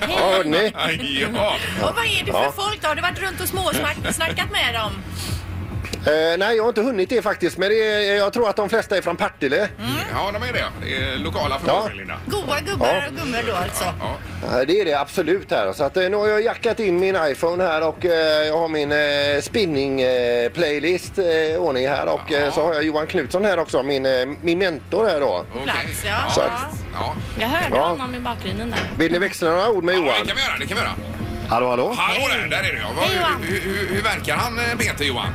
[SPEAKER 6] Ja, hörni.
[SPEAKER 1] Aj, ja.
[SPEAKER 9] Och vad är det för folk då? Har du varit runt och småsnackat med dem?
[SPEAKER 6] Eh, nej, jag har inte hunnit det faktiskt, men det är, eh, jag tror att de flesta är från Partille.
[SPEAKER 1] ja, de är det. Det är lokala förmågor,
[SPEAKER 6] Ja.
[SPEAKER 1] Linda.
[SPEAKER 3] Goa gubbar
[SPEAKER 6] Ja.
[SPEAKER 3] och gummor då alltså.
[SPEAKER 1] Ja.
[SPEAKER 6] Ja, Eh, det är det absolut här. Så att, eh, nu har jag jackat in min iPhone här och eh, jag har min eh, spinning-playlist eh, i ordning här. Och eh, så har jag Johan Knutsson här också, min, eh, min mentor här då.
[SPEAKER 1] Okej.
[SPEAKER 9] Plats, ja.
[SPEAKER 6] Så
[SPEAKER 1] ja.
[SPEAKER 6] att,
[SPEAKER 1] ja.
[SPEAKER 8] Jag hörde
[SPEAKER 6] Ja.
[SPEAKER 8] honom i bakgrunden där.
[SPEAKER 6] vill ni växla några ord med
[SPEAKER 1] Ja, det
[SPEAKER 6] Johan?
[SPEAKER 1] kan vi göra. Det kan vi göra.
[SPEAKER 6] Hallå, hallå?
[SPEAKER 1] Hallå där, där är du ja. Vad-
[SPEAKER 8] Hej, Johan.
[SPEAKER 1] hur, hur, hur verkar han eh, Peter Johan?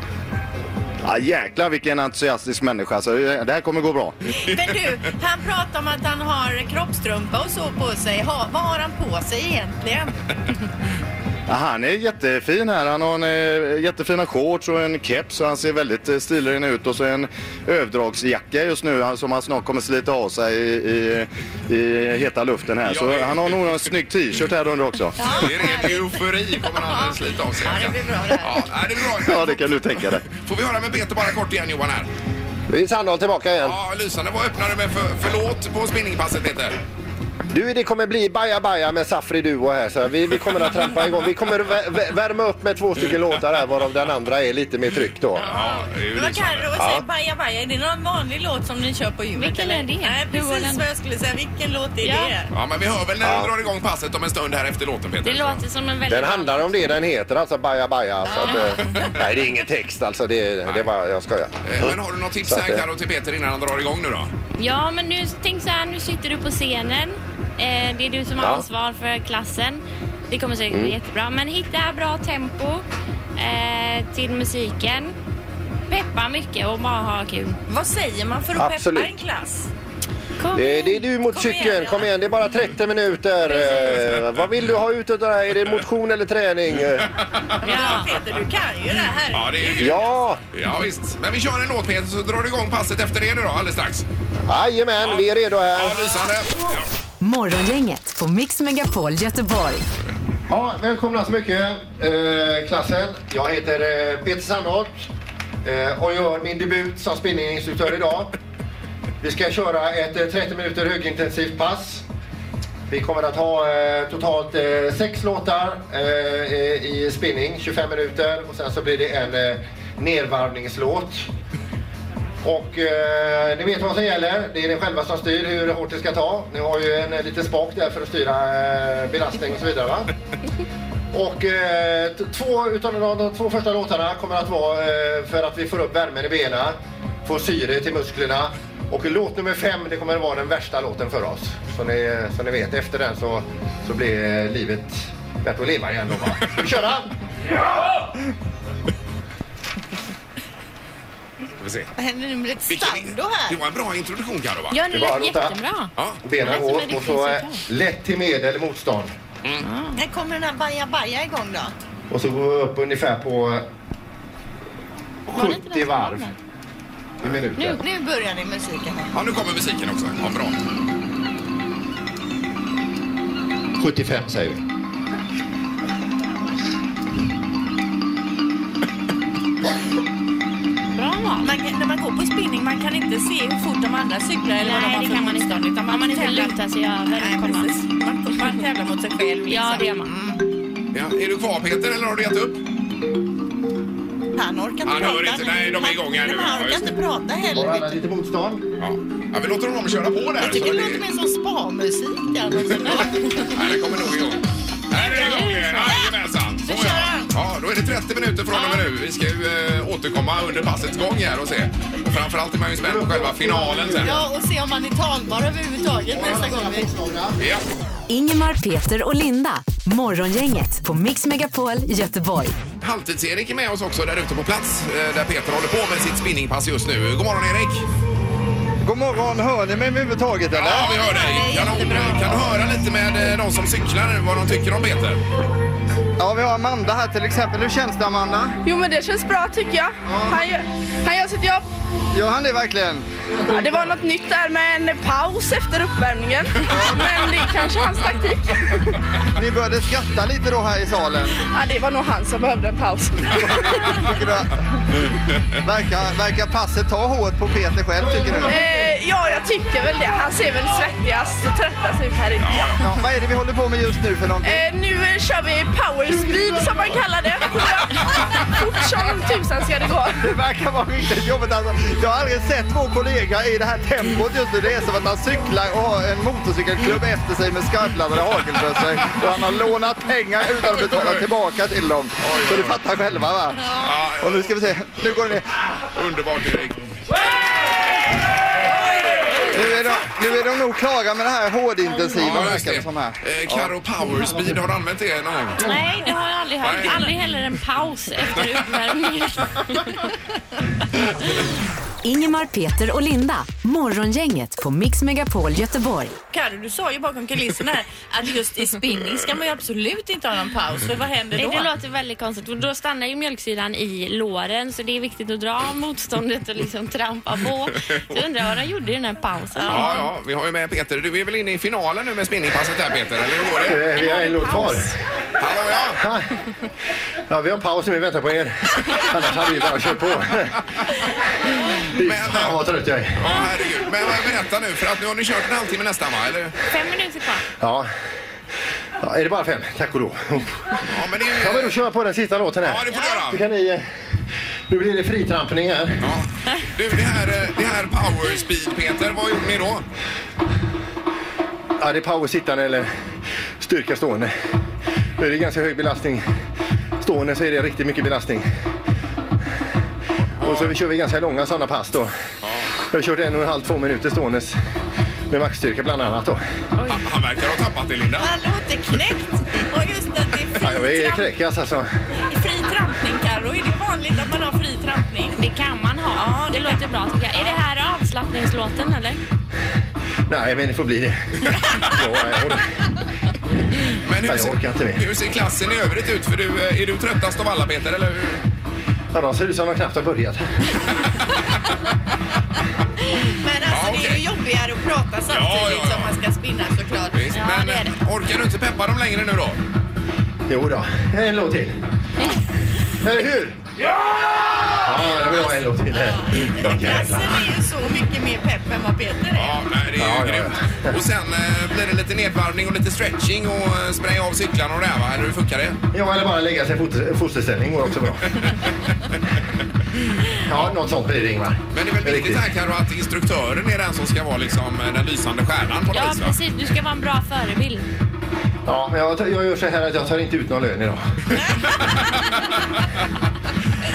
[SPEAKER 10] Ja, jäklar vilken entusiastisk människa. Så det här kommer gå bra.
[SPEAKER 9] Men du, han pratar om att han har kroppstrumpa och så på sig. Ha, vad har han på sig egentligen?
[SPEAKER 10] Ja, han är jättefin här. Han har en, eh, jättefina shorts och en keps. och Han ser väldigt eh, stilren ut. Och så en överdragsjacka just nu han- som han snart kommer slita av sig i, i, i heta luften här. Så han har nog en snygg t-shirt här under också.
[SPEAKER 1] Det är ren eufori kommer han att slita av sig. Ja, det blir bra det. Ja, nej, det blir bra.
[SPEAKER 10] Ja, det kan du tänka dig.
[SPEAKER 1] Får vi höra med Peter bara kort igen Johan här?
[SPEAKER 6] Vi är Sandahl tillbaka igen.
[SPEAKER 1] Ja, lysande. Vad öppnar du med för, för låt på spinningpasset Peter?
[SPEAKER 6] Du, det kommer bli Baja Baja med Safri Duo här. Så vi, vi kommer att trampa igång. Vi kommer vä- vä- värma upp med två stycken låtar här varav den andra är lite mer tryck då.
[SPEAKER 1] Ja, det är ju
[SPEAKER 9] Vad kan du
[SPEAKER 1] lysande.
[SPEAKER 9] säga? Baja Baja, är det någon vanlig låt som ni kör på gymmet?
[SPEAKER 8] Vilken är
[SPEAKER 9] eller?
[SPEAKER 8] det?
[SPEAKER 9] Nej,
[SPEAKER 8] Du och
[SPEAKER 9] precis
[SPEAKER 8] den-
[SPEAKER 9] vad jag skulle säga. Vilken låt är
[SPEAKER 8] Ja.
[SPEAKER 9] det?
[SPEAKER 1] Ja, men vi hör väl när du drar igång passet om en stund här efter låten Peter.
[SPEAKER 8] Det låter som en väldigt...
[SPEAKER 6] Den handlar om det den heter, alltså Baja Baja. Så att, eh, nej, det är ingen text alltså. Det, det är bara, jag skojar.
[SPEAKER 1] Ah. Eh, Men har du något tips
[SPEAKER 6] Så att eh,
[SPEAKER 1] här
[SPEAKER 6] det-
[SPEAKER 1] Karo till Peter innan han drar igång nu då?
[SPEAKER 8] Ja, men nu, tänk så här, nu sitter du på scenen. Eh, det är du som har
[SPEAKER 6] Ja. Mm.
[SPEAKER 8] ansvar för klassen. Det kommer säkert bli jättebra. Men hitta bra tempo eh, till musiken. Peppa mycket och bara ha kul.
[SPEAKER 9] Vad säger man för att
[SPEAKER 6] Absolut.
[SPEAKER 9] peppa en klass?
[SPEAKER 8] Kom
[SPEAKER 6] Det,
[SPEAKER 8] igen.
[SPEAKER 6] det är du mot
[SPEAKER 9] Kom igen,
[SPEAKER 6] cykeln,
[SPEAKER 9] ja.
[SPEAKER 6] kom igen. Det är bara 30 minuter. Eh, vad vill du ha ut av det här? Är det motion eller träning? Eh,
[SPEAKER 9] Ja. Peter, du kan ju det här.
[SPEAKER 1] Ja, det är ju
[SPEAKER 6] Ja,
[SPEAKER 1] Ja, visst. Men vi kör en låt Peter så drar du igång passet efter det nu då alldeles strax.
[SPEAKER 6] jajamän, vi är redo här.
[SPEAKER 1] Ja, lysande. Ja.
[SPEAKER 4] Morgongänget på Mix Megapol Göteborg.
[SPEAKER 6] Ja, välkomna så mycket eh, klassen. Jag heter eh, Peter Sandholt eh, och gör min debut som spinninginstruktör idag. Vi ska köra ett eh, 30 minuter högintensivt pass. Vi kommer att ha eh, totalt eh, sex låtar eh, eh, i spinning, 25 minuter och sen så blir det en eh, nedvarvningslåt. Och eh, ni vet vad som gäller. Det är ni själva som styr hur hårt det ska ta. Ni har ju en eh, liten spak där för att styra eh, belastning och så vidare. Va? Och eh, t- två utav de, de två första låtarna kommer att vara eh, för att vi får upp värmen i benen, får syre till musklerna. Och låt nummer fem, det kommer att vara den värsta låten för oss. Så ni, så ni vet, efter den så, så blir eh, livet värt att leva igen då va. Ska vi köra? Ja!
[SPEAKER 1] Ska vi se.
[SPEAKER 9] Vad händer nu med ett stando här?
[SPEAKER 1] Det var en bra introduktion Karo va?
[SPEAKER 8] Ja, det
[SPEAKER 6] Det var
[SPEAKER 8] lät
[SPEAKER 6] Lotta.
[SPEAKER 8] jättebra.
[SPEAKER 1] Ja.
[SPEAKER 6] Benen
[SPEAKER 8] Alltså, men
[SPEAKER 6] går
[SPEAKER 8] det
[SPEAKER 6] och så
[SPEAKER 8] finns
[SPEAKER 6] eh,
[SPEAKER 8] inte.
[SPEAKER 6] lätt till medel motstånd.
[SPEAKER 9] När kommer den här Baja Baja igång då?
[SPEAKER 6] Och så går vi upp ungefär på
[SPEAKER 8] Var det inte den
[SPEAKER 6] 70
[SPEAKER 8] som
[SPEAKER 6] varv
[SPEAKER 8] kom
[SPEAKER 6] i minuten.
[SPEAKER 9] Nu börjar ni musiken här.
[SPEAKER 1] Ja, nu kommer musiken också. Ja, bra.
[SPEAKER 6] 75 säger vi.
[SPEAKER 8] där? Bra val.
[SPEAKER 9] Man kan, när man går på spinning man kan inte se hur fort de andra cyklar eller vad de
[SPEAKER 8] Nej,
[SPEAKER 9] har
[SPEAKER 8] det
[SPEAKER 9] för
[SPEAKER 8] kan man inte.
[SPEAKER 9] motstånd, utan
[SPEAKER 8] Om man inte
[SPEAKER 9] tävlar-
[SPEAKER 8] lutar sig över.
[SPEAKER 9] Nej,
[SPEAKER 8] kommer man.
[SPEAKER 9] precis. Man, man tävlar mot sig själv.
[SPEAKER 8] Ja, det gör man.
[SPEAKER 1] Ja, är du kvar Peter eller har du gett upp?
[SPEAKER 9] Han orkar inte
[SPEAKER 1] Han
[SPEAKER 9] prata.
[SPEAKER 1] hör inte. Nej, de är
[SPEAKER 9] Han-
[SPEAKER 1] igång här nu.
[SPEAKER 9] men Han
[SPEAKER 1] Ja,
[SPEAKER 9] orkar
[SPEAKER 1] just
[SPEAKER 9] inte prata
[SPEAKER 6] Har
[SPEAKER 9] heller.
[SPEAKER 6] alla lite motstånd?
[SPEAKER 1] Ja. ja vi låter honom köra på där.
[SPEAKER 9] Jag tycker
[SPEAKER 1] så
[SPEAKER 9] det låter mer som spa-musik. där, men så-
[SPEAKER 1] Nej, det kommer nog igång. Här är det igång! Jajamensan!
[SPEAKER 9] Nu
[SPEAKER 1] Så ja.
[SPEAKER 9] kör han.
[SPEAKER 1] Ja, då är det 30 minuter från och med nu. Vi ska ju eh, återkomma under passets gång här och se. Och framförallt är man ju spänd på själva finalen sen.
[SPEAKER 9] Ja, och se om man är talbar överhuvudtaget nästa gång. vi-
[SPEAKER 1] Ja.
[SPEAKER 4] Ingemar, Peter och Linda. Morgongänget på Mix Megapol Göteborg.
[SPEAKER 1] Halvtids-Erik är med oss också där ute på plats eh, där Peter håller på med sitt spinningpass just nu. God morgon Erik!
[SPEAKER 11] God morgon, hör ni mig överhuvudtaget eller?
[SPEAKER 1] Ja, vi hör dig. Kanon. Kan du höra lite med eh, de som cyklar nu vad de tycker om Peter?
[SPEAKER 11] Ja, vi har Amanda här till exempel. Hur känns det Amanda?
[SPEAKER 12] Jo men det känns bra tycker jag. Han, gör, han gör sitt jobb.
[SPEAKER 11] Gör han det verkligen?
[SPEAKER 12] Ja, det var något nytt där med en paus efter uppvärmningen. Men det är kanske hans taktik.
[SPEAKER 11] Ni började skratta lite då här i salen.
[SPEAKER 12] Ja, det var nog han som behövde en paus.
[SPEAKER 11] Tycker du att- Verkar, verkar passet ta hårt på Peter själv tycker du?
[SPEAKER 12] Eh, ja, jag tycker väl det. Han ser väl svettigast och tröttast ut här inne.
[SPEAKER 11] Ja, vad är det vi håller på med just nu för någonting?
[SPEAKER 12] Eh, nu eh, kör vi power speed som man kallar det. Fort som tusan ska det gå.
[SPEAKER 11] Det verkar vara riktigt jobbigt alltså. Jag har aldrig sett vår kollega i det här tempot just nu. Det är som att han cyklar och har en motorcykelklubb efter sig med skarpladdade hagelbössor. Och han har lånat pengar utan att betala tillbaka till dem. Så du fattar själva va? Och nu ska vi se.
[SPEAKER 6] Eh,
[SPEAKER 11] Nu går det ner.
[SPEAKER 1] Underbart Erik!
[SPEAKER 11] Nu är de, nu är de nog klara med det här hårdintensiva
[SPEAKER 1] just
[SPEAKER 11] verkar det som här.
[SPEAKER 1] Eh, Karo Power Speed, har du använt det någon gång?
[SPEAKER 8] Nej, det har jag aldrig hört.
[SPEAKER 1] Nej.
[SPEAKER 8] Aldrig heller en paus efter uppvärmningen.
[SPEAKER 4] Ingemar, Peter och Linda. Morgongänget på Mix Megapol Göteborg.
[SPEAKER 9] Karro, du sa ju bakom kulisserna här att just i spinning ska man ju absolut inte ha någon paus. För vad händer
[SPEAKER 8] Nej,
[SPEAKER 9] då?
[SPEAKER 8] Eh, det låter väldigt konstigt. Och då stannar ju mjölksyran i låren så det är viktigt att dra motståndet och liksom trampa på. Så jag undrar vad de gjorde i den här pausen.
[SPEAKER 1] Ja, ja, vi har ju med Peter. Du är väl inne i finalen nu med spinningpasset här Peter, eller hur går det?
[SPEAKER 6] Vi har en låt kvar.
[SPEAKER 1] Hallå ja!
[SPEAKER 6] Ja, vi har en paus nu. Vi väntar på er. Annars hade vi bara kört på. Fy
[SPEAKER 11] eh,
[SPEAKER 6] fan vad trött jag är.
[SPEAKER 1] Ja, herregud. Men vad- berätta nu, för att nu har ni kört en halvtimme nästan va? Eller?
[SPEAKER 8] Fem minuter kvar.
[SPEAKER 6] Ja. ja. Är det bara fem? Tack och lov.
[SPEAKER 1] Ja, men det är
[SPEAKER 6] Ja, men då
[SPEAKER 1] ju...
[SPEAKER 6] kör jag på den sista låten
[SPEAKER 1] Ja,
[SPEAKER 6] här.
[SPEAKER 1] det får
[SPEAKER 6] Nu
[SPEAKER 1] du göra.
[SPEAKER 6] kan ni... eh, Nu blir det fritrampning här.
[SPEAKER 1] Ja. Du, det här, eh, det här Power Speed Peter, vad gjorde ni då?
[SPEAKER 6] Ja, det är power sittande eller styrka stående. Nu är det ganska hög belastning. Stående så är det riktigt mycket belastning. Och så vi kör vi ganska långa sådana pass då. Jag har kört en och en halv, två minuter stående med maxstyrka bland annat då.
[SPEAKER 1] Han, han verkar ha tappat det Linda.
[SPEAKER 9] Han låter knäckt. Och just att det
[SPEAKER 6] Ja,
[SPEAKER 9] är
[SPEAKER 6] jag
[SPEAKER 9] fri,
[SPEAKER 6] är
[SPEAKER 9] tramp,
[SPEAKER 6] kräkas alltså.
[SPEAKER 9] fri trampning, Karro. Är det vanligt att man har fri trampning?
[SPEAKER 8] Det kan man ha.
[SPEAKER 9] Ja,
[SPEAKER 8] det låter bra tycker jag. Är det här avslappningslåten eller?
[SPEAKER 6] Nej, men det får bli det. Ja, jag orkar.
[SPEAKER 1] Men hur,
[SPEAKER 6] Nej, jag orkar inte
[SPEAKER 1] ser,
[SPEAKER 6] mer.
[SPEAKER 1] hur ser klassen i övrigt ut? För du, eh, är du tröttast av alla Peter, eller hur?
[SPEAKER 6] Ja, de ser ut som de knappt har börjat.
[SPEAKER 9] Men alltså det är
[SPEAKER 1] Ja, okej.
[SPEAKER 9] alltså, ju jobbigare att prata samtidigt
[SPEAKER 1] Ja, ja, ja.
[SPEAKER 9] som man ska spinna såklart.
[SPEAKER 1] eh, orkar du inte peppa dem längre nu då?
[SPEAKER 6] Jo då. en låt till. Eller hur? Ja! Ja, det vill jag ha en låt till här.
[SPEAKER 9] Alltså,
[SPEAKER 13] Lasse det är ju så mycket mer pepp än vad Peter är.
[SPEAKER 1] Ja, nej, det är ju grymt. Och sen eh, blir det lite nedvarvning och lite stretching och eh, spränga av cyklarna och det här va? Eller hur funkar det?
[SPEAKER 6] Ja, eller bara lägga sig i foster- fosterställning går också bra. Ja, något sånt blir det Ingmar.
[SPEAKER 1] Men det är väl viktigt här Karo att instruktören är den som ska vara liksom eh, den lysande stjärnan på något
[SPEAKER 8] Ja,
[SPEAKER 1] vis va?
[SPEAKER 8] precis. Du ska vara en bra förebild.
[SPEAKER 6] Ja, men jag, tar- jag gör så här att jag tar inte ut någon lön idag.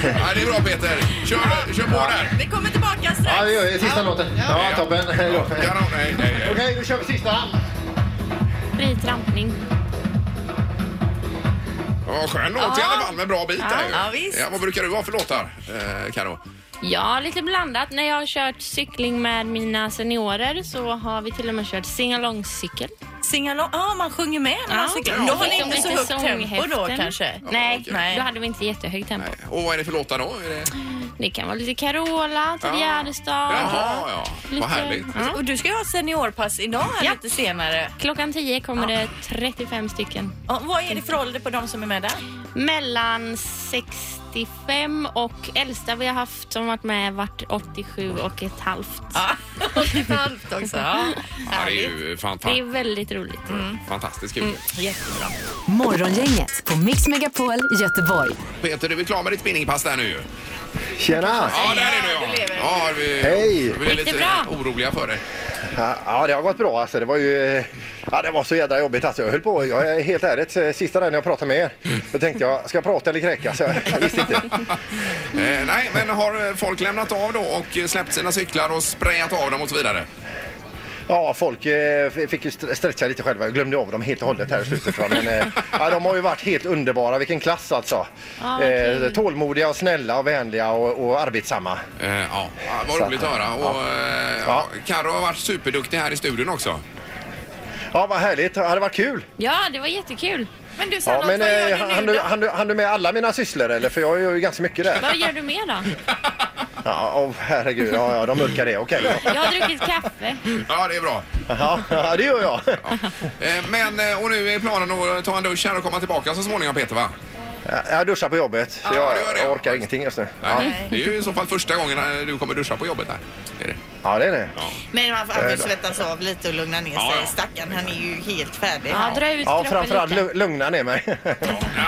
[SPEAKER 1] Ja, det är bra Peter. Kör, kör på där.
[SPEAKER 13] Vi kommer tillbaka strax.
[SPEAKER 6] Ja, det gör vi. Sista låten. Ja, toppen. Hej då.
[SPEAKER 1] nej, nej, nej.
[SPEAKER 6] Okej, då kör vi sista.
[SPEAKER 8] Fri trampning.
[SPEAKER 1] Ja, skön låt i
[SPEAKER 8] Ja.
[SPEAKER 1] alla fall med bra bit där ju.
[SPEAKER 8] Ja, visst.
[SPEAKER 1] Ja, vad brukar du ha för låtar, eh, Karo?
[SPEAKER 8] Ja, lite blandat. När jag har kört cykling med mina seniorer så har vi till och med kört singalongcykel.
[SPEAKER 13] Singalong? Ja, man sjunger med när man cyklar. Då har ni inte så högt tempo då, kanske?
[SPEAKER 8] Nej,
[SPEAKER 13] Ja, okej.
[SPEAKER 8] då hade vi inte jättehögt tempo.
[SPEAKER 1] Och vad är det för låtar då? Är det...
[SPEAKER 8] Det kan vara lite Carola, Ted
[SPEAKER 1] Ja.
[SPEAKER 8] Gärdestad.
[SPEAKER 1] Jaha, ja. Vad härligt.
[SPEAKER 8] Mm.
[SPEAKER 13] Och du ska ju ha seniorpass idag här lite senare.
[SPEAKER 8] Klockan 10 kommer det 35 stycken.
[SPEAKER 13] Ja, vad är det för ålder på de som är med där?
[SPEAKER 8] Mellan 65 och äldsta vi har haft som varit med varit 87 och ett halvt.
[SPEAKER 13] ett halvt också. Ja.
[SPEAKER 1] Ja, det är ju
[SPEAKER 8] Det är
[SPEAKER 1] fantastiskt.
[SPEAKER 8] väldigt roligt.
[SPEAKER 1] Mm. Fantastiskt kul.
[SPEAKER 13] Jättebra.
[SPEAKER 4] Morgongänget på Mix Megapol Göteborg.
[SPEAKER 1] Peter, du är klar med ditt spinningpass där nu ju.
[SPEAKER 6] Tjena!
[SPEAKER 1] Ja, där är du ja. ja vi,
[SPEAKER 6] Hej.
[SPEAKER 1] vi är
[SPEAKER 6] Gick det
[SPEAKER 1] lite
[SPEAKER 6] bra?
[SPEAKER 1] oroliga för dig.
[SPEAKER 6] Ja, Ja, det har gått bra alltså. Det var ju... eh, Ja, det var så jädra jobbigt alltså. Jag höll på, jag är helt ärligt, eh, sista där när jag pratade med er. Då tänkte jag, ska jag prata eller kräka? Så jag, jag visste inte.
[SPEAKER 1] Eh, nej, men har eh, folk lämnat av då och eh, släppt sina cyklar och sprayat av dem och så vidare?
[SPEAKER 6] Ja, folk eh, f- fick ju st- stretcha lite själva. Jag glömde av dem helt och hållet här i slutet. va. Men, eh, ja, de har ju varit helt underbara. Vilken klass alltså.
[SPEAKER 1] Ja,
[SPEAKER 6] eh,
[SPEAKER 1] kul.
[SPEAKER 6] tålmodiga och snälla och vänliga och, och arbetsamma.
[SPEAKER 1] Eh, ja, ja, vad
[SPEAKER 6] Så
[SPEAKER 1] roligt att
[SPEAKER 6] att-
[SPEAKER 1] höra. Och, eh, ja. Karo har varit superduktig här i studion också.
[SPEAKER 6] Ja, vad härligt. Ja, det var kul.
[SPEAKER 8] Ja, det var jättekul.
[SPEAKER 13] Men du
[SPEAKER 6] Ja, men eh, hann du, hann, du, hann du med alla mina sysslor eller? För jag gör ju ganska mycket där.
[SPEAKER 8] Vad gör du mer då?
[SPEAKER 6] Ja, åh, herregud. Ja, ja, de mörkar det. Okej. då.
[SPEAKER 8] Jag har druckit kaffe.
[SPEAKER 1] Ja, det är bra.
[SPEAKER 6] Ja, ja, det gör jag.
[SPEAKER 1] Eh, Men, eh, och nu är planen att ta en dusch här och komma tillbaka så småningom Peter va?
[SPEAKER 6] Ja, Jag duschar på jobbet. Så jag, jag orkar ingenting just nu. Ja.
[SPEAKER 1] Nej. Det är ju i så fall första gången eh, du kommer duscha på jobbet här. Är det?
[SPEAKER 6] ja, det är det.
[SPEAKER 13] Men man får
[SPEAKER 6] Eh,
[SPEAKER 13] alltid
[SPEAKER 6] då.
[SPEAKER 13] svettas av lite och lugna ner
[SPEAKER 6] Ja,
[SPEAKER 13] sig.
[SPEAKER 6] ja.
[SPEAKER 13] Stackarn, han är ju helt färdig.
[SPEAKER 6] Ja,
[SPEAKER 13] här.
[SPEAKER 6] dra ut Ja, kroppen framförallt lite. lu- lugna ner mig.
[SPEAKER 1] Ja,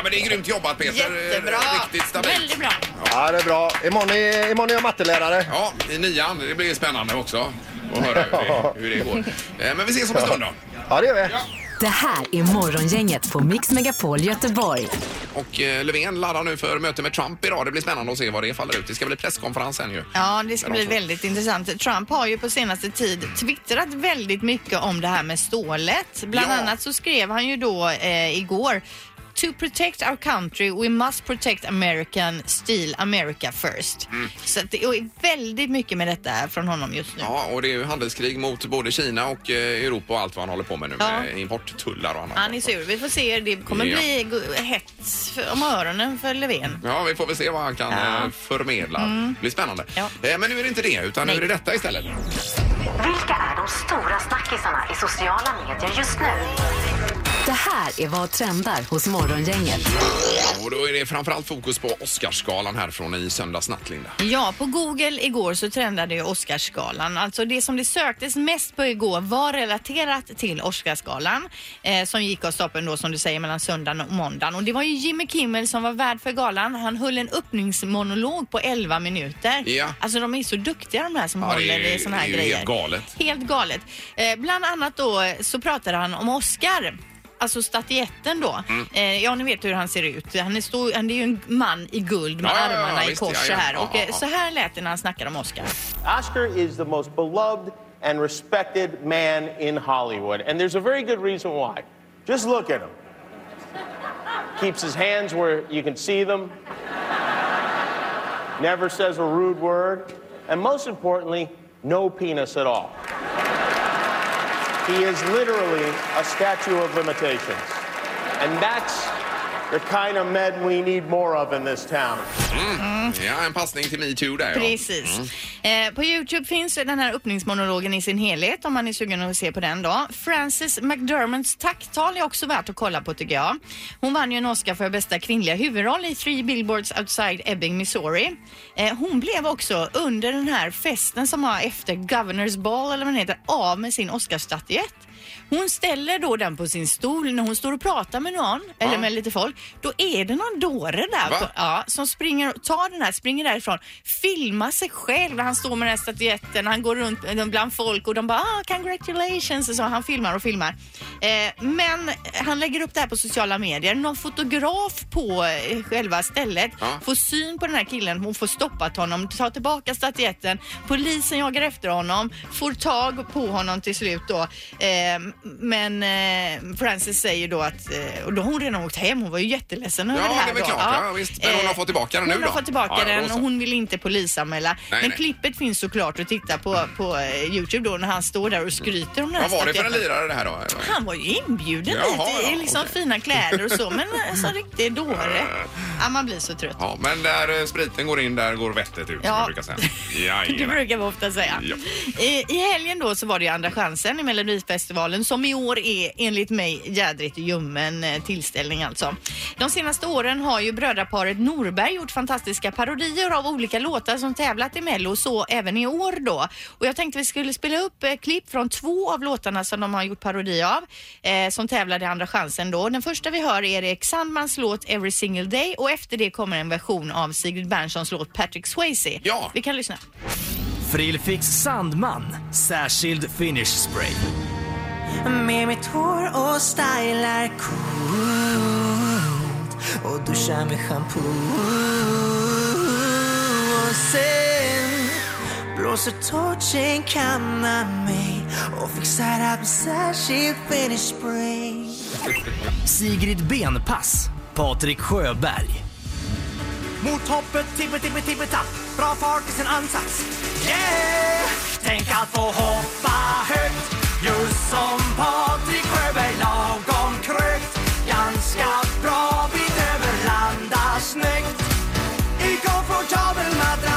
[SPEAKER 1] men det är grymt jobbat Peter.
[SPEAKER 13] Jättebra.
[SPEAKER 1] Riktigt stabilt.
[SPEAKER 8] Väldigt bra.
[SPEAKER 6] Ja, det är bra. Imorgon är, imorgon är jag mattelärare.
[SPEAKER 1] Ja, i nian. Det blir spännande också att höra hur det, hur det går. Eh, Men vi ses om en stund då.
[SPEAKER 6] Ja, det gör vi.
[SPEAKER 4] Det här är Morgongänget på Mix Megapol Göteborg.
[SPEAKER 1] Och eh, Löfven laddar nu för möte med Trump idag. Det blir spännande att se vad det faller ut. Det ska bli presskonferens sen ju.
[SPEAKER 3] Ja, det ska
[SPEAKER 1] Men
[SPEAKER 3] bli
[SPEAKER 1] också-
[SPEAKER 3] väldigt intressant. Trump har ju på senaste tid twittrat väldigt mycket om det här med stålet. Bland annat så skrev han ju då eh, igår To protect our country we must protect American steel America first.
[SPEAKER 1] Mm.
[SPEAKER 3] Så att det är väldigt mycket med detta från honom just nu.
[SPEAKER 1] Ja, och det är ju handelskrig mot både Kina och eh, Europa och allt vad han håller på med nu.
[SPEAKER 3] Ja.
[SPEAKER 1] Med importtullar och annat.
[SPEAKER 3] Han är sur. Vi får se. Det kommer
[SPEAKER 1] Ja.
[SPEAKER 3] bli go- hets för- om öronen för Löfven.
[SPEAKER 1] Ja, vi får väl se vad han kan eh, förmedla.
[SPEAKER 3] Mm.
[SPEAKER 1] Det blir spännande. Eh, Men nu är det inte det, utan nu är det detta istället.
[SPEAKER 4] Vilka är de stora snackisarna i sociala medier just nu? Det här är vad trendar hos Morgongänget.
[SPEAKER 1] Och då är det framförallt fokus på Oscarsgalan här från i söndags natt, Linda.
[SPEAKER 3] Ja, på Google igår så trendade ju Oscarsgalan. Alltså det som det söktes mest på igår var relaterat till Oscarsgalan eh, som gick av stapeln då som du säger mellan söndagen och måndagen. Och det var ju Jimmy Kimmel som var värd för galan. Han höll en öppningsmonolog på 11 minuter.
[SPEAKER 1] Ja.
[SPEAKER 3] Alltså de är så duktiga de här som
[SPEAKER 1] Ja, det är
[SPEAKER 3] håller
[SPEAKER 1] ju-
[SPEAKER 3] i såna här
[SPEAKER 1] det är ju
[SPEAKER 3] grejer.
[SPEAKER 1] helt galet.
[SPEAKER 3] Helt galet. Eh, bland annat då eh, så pratade han om Oscar. Alltså statyetten då.
[SPEAKER 14] Mm.
[SPEAKER 3] Eh, ja, ni vet hur han ser ut. Han är, stor, han är ju en man i guld med
[SPEAKER 14] Ja, ja, ja,
[SPEAKER 3] armarna i
[SPEAKER 14] visst,
[SPEAKER 3] kors
[SPEAKER 14] ja,
[SPEAKER 3] så
[SPEAKER 14] ja.
[SPEAKER 3] här.
[SPEAKER 14] Ja,
[SPEAKER 3] Och,
[SPEAKER 14] ja,
[SPEAKER 3] eh,
[SPEAKER 14] ja.
[SPEAKER 3] så här lät det när han snackade om Oscar.
[SPEAKER 14] Oscar is the most beloved and respected man in Hollywood, and there's a very good reason why. Just look at him. Keeps his hands where you can see them, never says a rude word, and most importantly, no penis at all. He is literally a statue of limitations. And that's the kind of men we need more of in this town.
[SPEAKER 1] Ja, en passning till metoo där ja.
[SPEAKER 3] Mm. Precis.
[SPEAKER 1] Mm.
[SPEAKER 3] Eh, på Youtube finns den här öppningsmonologen i sin helhet om man är sugen att se på den då. Frances McDermotts tacktal är också värt att kolla på tycker jag. Hon vann ju en Oscar för bästa kvinnliga huvudroll i Three Billboards Outside Ebbing, Missouri. Eh, hon blev också under den här festen som var efter Governors Ball eller vad den heter av med sin Oscarsstatyett. Hon ställer då den på sin stol när hon står och pratar med någon eller med lite folk. Då är det någon dåre där
[SPEAKER 1] Va?
[SPEAKER 3] på, ja, som springer, tar den här, springer därifrån, filmar sig själv när han står med den här statyetten. Han går runt eh, bland folk och de bara ah, “congratulations” och så. Han filmar och filmar. Eh, men han lägger upp det här på sociala medier. Någon fotograf på eh, själva stället får syn på den här killen. Hon får stoppat honom, tar tillbaka statyetten. Polisen jagar efter honom, får tag på honom till slut då. Eh, men eh, Frances säger då att, eh, och då har hon redan åkt hem. Hon var ju jätteledsen över
[SPEAKER 1] Ja,
[SPEAKER 3] det
[SPEAKER 1] det
[SPEAKER 3] här
[SPEAKER 1] är väl
[SPEAKER 3] då.
[SPEAKER 1] klart. Ja, visst. Men hon
[SPEAKER 3] Eh,
[SPEAKER 1] har fått tillbaka den nu
[SPEAKER 3] Hon har
[SPEAKER 1] då?
[SPEAKER 3] fått tillbaka
[SPEAKER 1] Ja,
[SPEAKER 3] den
[SPEAKER 1] då så.
[SPEAKER 3] och hon vill inte polisanmäla.
[SPEAKER 1] Nej,
[SPEAKER 3] men
[SPEAKER 1] nej.
[SPEAKER 3] klippet finns såklart att titta på på eh, Youtube då när han står där och skryter om den här
[SPEAKER 1] Vad var det för en
[SPEAKER 3] statyetten.
[SPEAKER 1] lirare det här då?
[SPEAKER 3] Han var ju inbjuden
[SPEAKER 1] Jaha,
[SPEAKER 3] dit i
[SPEAKER 1] ja,
[SPEAKER 3] liksom
[SPEAKER 1] okej.
[SPEAKER 3] fina kläder och så men eh, som riktig dåre. Ja, man blir så trött.
[SPEAKER 1] Ja, men där eh, spriten går in, där går vettet ut som
[SPEAKER 3] Ja.
[SPEAKER 1] jag brukar säga. Jajamän.
[SPEAKER 3] Det brukar vi ofta säga.
[SPEAKER 1] Ja.
[SPEAKER 3] I, I helgen då så var det ju Andra chansen i Melodifestivalen som i år är enligt mig jädrigt ljummen eh, tillställning alltså. De senaste åren har ju brödraparet Norberg gjort fantastiska parodier av olika låtar som tävlat i Mello, så även i år då. Och jag tänkte vi skulle spela upp eh, klipp från två av låtarna som de har gjort parodi av, eh, som tävlade i Andra chansen då. Den första vi hör är Erik Sandmans låt Every single day och efter det kommer en version av Sigrid Bernssons låt Patrick Swayze. Ja. Vi kan lyssna.
[SPEAKER 15] Frilfix Sandman, särskild finish spray.
[SPEAKER 16] Med mitt hår och stylar coolt och duschar med shampoo och sen blåser torchen kanna mig och fixar upp en särskild finish spray
[SPEAKER 15] Sigrid Benpass, Patrik Sjöberg.
[SPEAKER 16] Mot hoppet, tippe, tippe, tippe, tapp Bra fart i sin ansats Yeah! Tänk att få hoppa högt Just som Patrik Sjöberg lagom krökt Ganska bra bit över landa snyggt I komfortabel madrass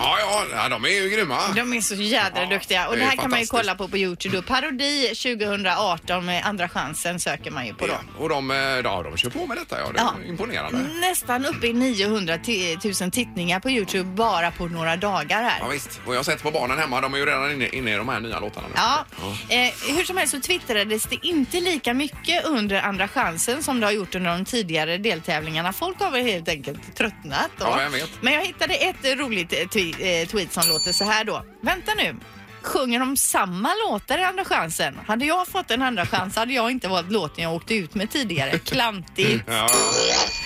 [SPEAKER 1] Ja, ja, ja, de är ju grymma.
[SPEAKER 3] De är så jädra duktiga. Och
[SPEAKER 1] det
[SPEAKER 3] det,
[SPEAKER 1] är
[SPEAKER 3] här kan man ju
[SPEAKER 1] fantastiskt.
[SPEAKER 3] kolla på på Youtube. då. Parodi 2018 med Andra chansen söker man ju på då.
[SPEAKER 1] Och de, eh, ja, de kör på med detta, ja. Det är
[SPEAKER 3] Ja.
[SPEAKER 1] imponerande.
[SPEAKER 3] Nästan uppe i 900 ti- 000 tittningar på Youtube bara på några dagar här.
[SPEAKER 1] Ja, visst. Och jag har sett på barnen hemma, de är ju redan inne, inne i de här nya låtarna. nu.
[SPEAKER 3] Ja, eh, hur som helst så twittrades det inte lika mycket under Andra chansen som det har gjort under de tidigare deltävlingarna. Folk har väl helt enkelt tröttnat. Då.
[SPEAKER 1] Ja, vem vet?
[SPEAKER 3] Men jag hittade ett eh, roligt eh, twi- eh, tweet som låter så här då. Vänta nu. Sjunger de samma låtar i Andra chansen? Hade jag fått en andra chans hade jag inte valt låten jag åkte ut med tidigare. Klantigt.
[SPEAKER 1] Ja,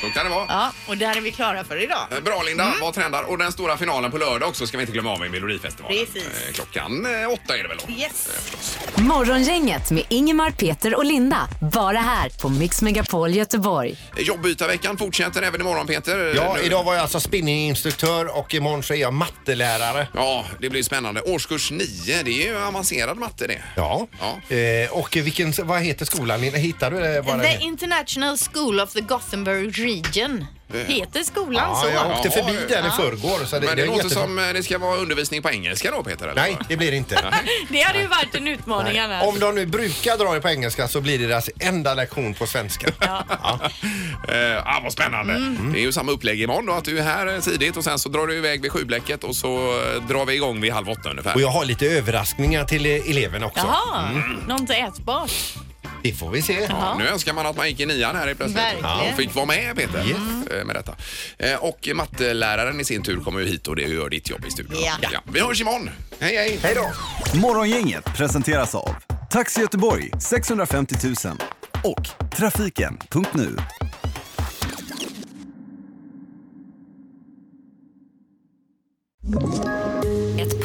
[SPEAKER 1] så kan det vara.
[SPEAKER 3] Ja, och där är vi klara för idag.
[SPEAKER 1] Eh, Bra Linda,
[SPEAKER 3] Mm.
[SPEAKER 1] vad trendar? Och den stora finalen på lördag också ska vi inte glömma av i Melodifestivalen.
[SPEAKER 3] Precis.
[SPEAKER 1] Eh, Klockan eh, åtta är det väl då?
[SPEAKER 3] Yes.
[SPEAKER 4] Morgongänget med Ingemar, Peter och Linda. Bara här på Mix Megapol Göteborg.
[SPEAKER 1] Jobbytarveckan fortsätter även imorgon Peter.
[SPEAKER 2] Ja,
[SPEAKER 1] Nu-
[SPEAKER 2] idag var jag alltså spinninginstruktör och imorgon så är jag mattelärare.
[SPEAKER 1] Ja, det blir spännande. Årskurs 9, det är ju avancerad matte det.
[SPEAKER 2] Ja. Eh, och vilken, vad heter skolan? Linda? Hittar du det? Vad det
[SPEAKER 3] The International School of the Gothenburg Region. Heter skolan
[SPEAKER 2] Ja,
[SPEAKER 3] så?
[SPEAKER 2] jag åkte förbi den i förrgår. Så det,
[SPEAKER 1] Men det,
[SPEAKER 2] är
[SPEAKER 1] låter
[SPEAKER 2] jättebra.
[SPEAKER 1] som eh, det ska vara undervisning på engelska då Peter? Eller?
[SPEAKER 2] Nej, det blir det inte.
[SPEAKER 8] Det hade ju varit en utmaning annars.
[SPEAKER 2] Om de nu brukar dra det på engelska så blir det deras enda lektion på svenska.
[SPEAKER 1] Eh, ah, vad spännande.
[SPEAKER 3] Mm.
[SPEAKER 1] Det är ju samma upplägg imorgon då, att du är här eh, tidigt och sen så drar du iväg vid sjublecket och så eh, drar vi igång vid halv åtta ungefär.
[SPEAKER 2] Och jag har lite överraskningar till eh, eleverna också.
[SPEAKER 3] Jaha,
[SPEAKER 2] Mm.
[SPEAKER 3] något ätbart.
[SPEAKER 2] Det får vi se.
[SPEAKER 1] Ja, nu önskar man att man gick i nian här i plötsligt.
[SPEAKER 3] Verkligen.
[SPEAKER 1] Och fick vara med Peter eh, med detta. Eh, Och matteläraren i sin tur kommer ju hit och det gör ditt jobb i studion.
[SPEAKER 3] Ja.
[SPEAKER 1] Vi hörs imorgon. Hej hej! Hej då!
[SPEAKER 17] Morgongänget presenteras av Taxi Göteborg 650 000 och Trafiken.nu.
[SPEAKER 4] Ett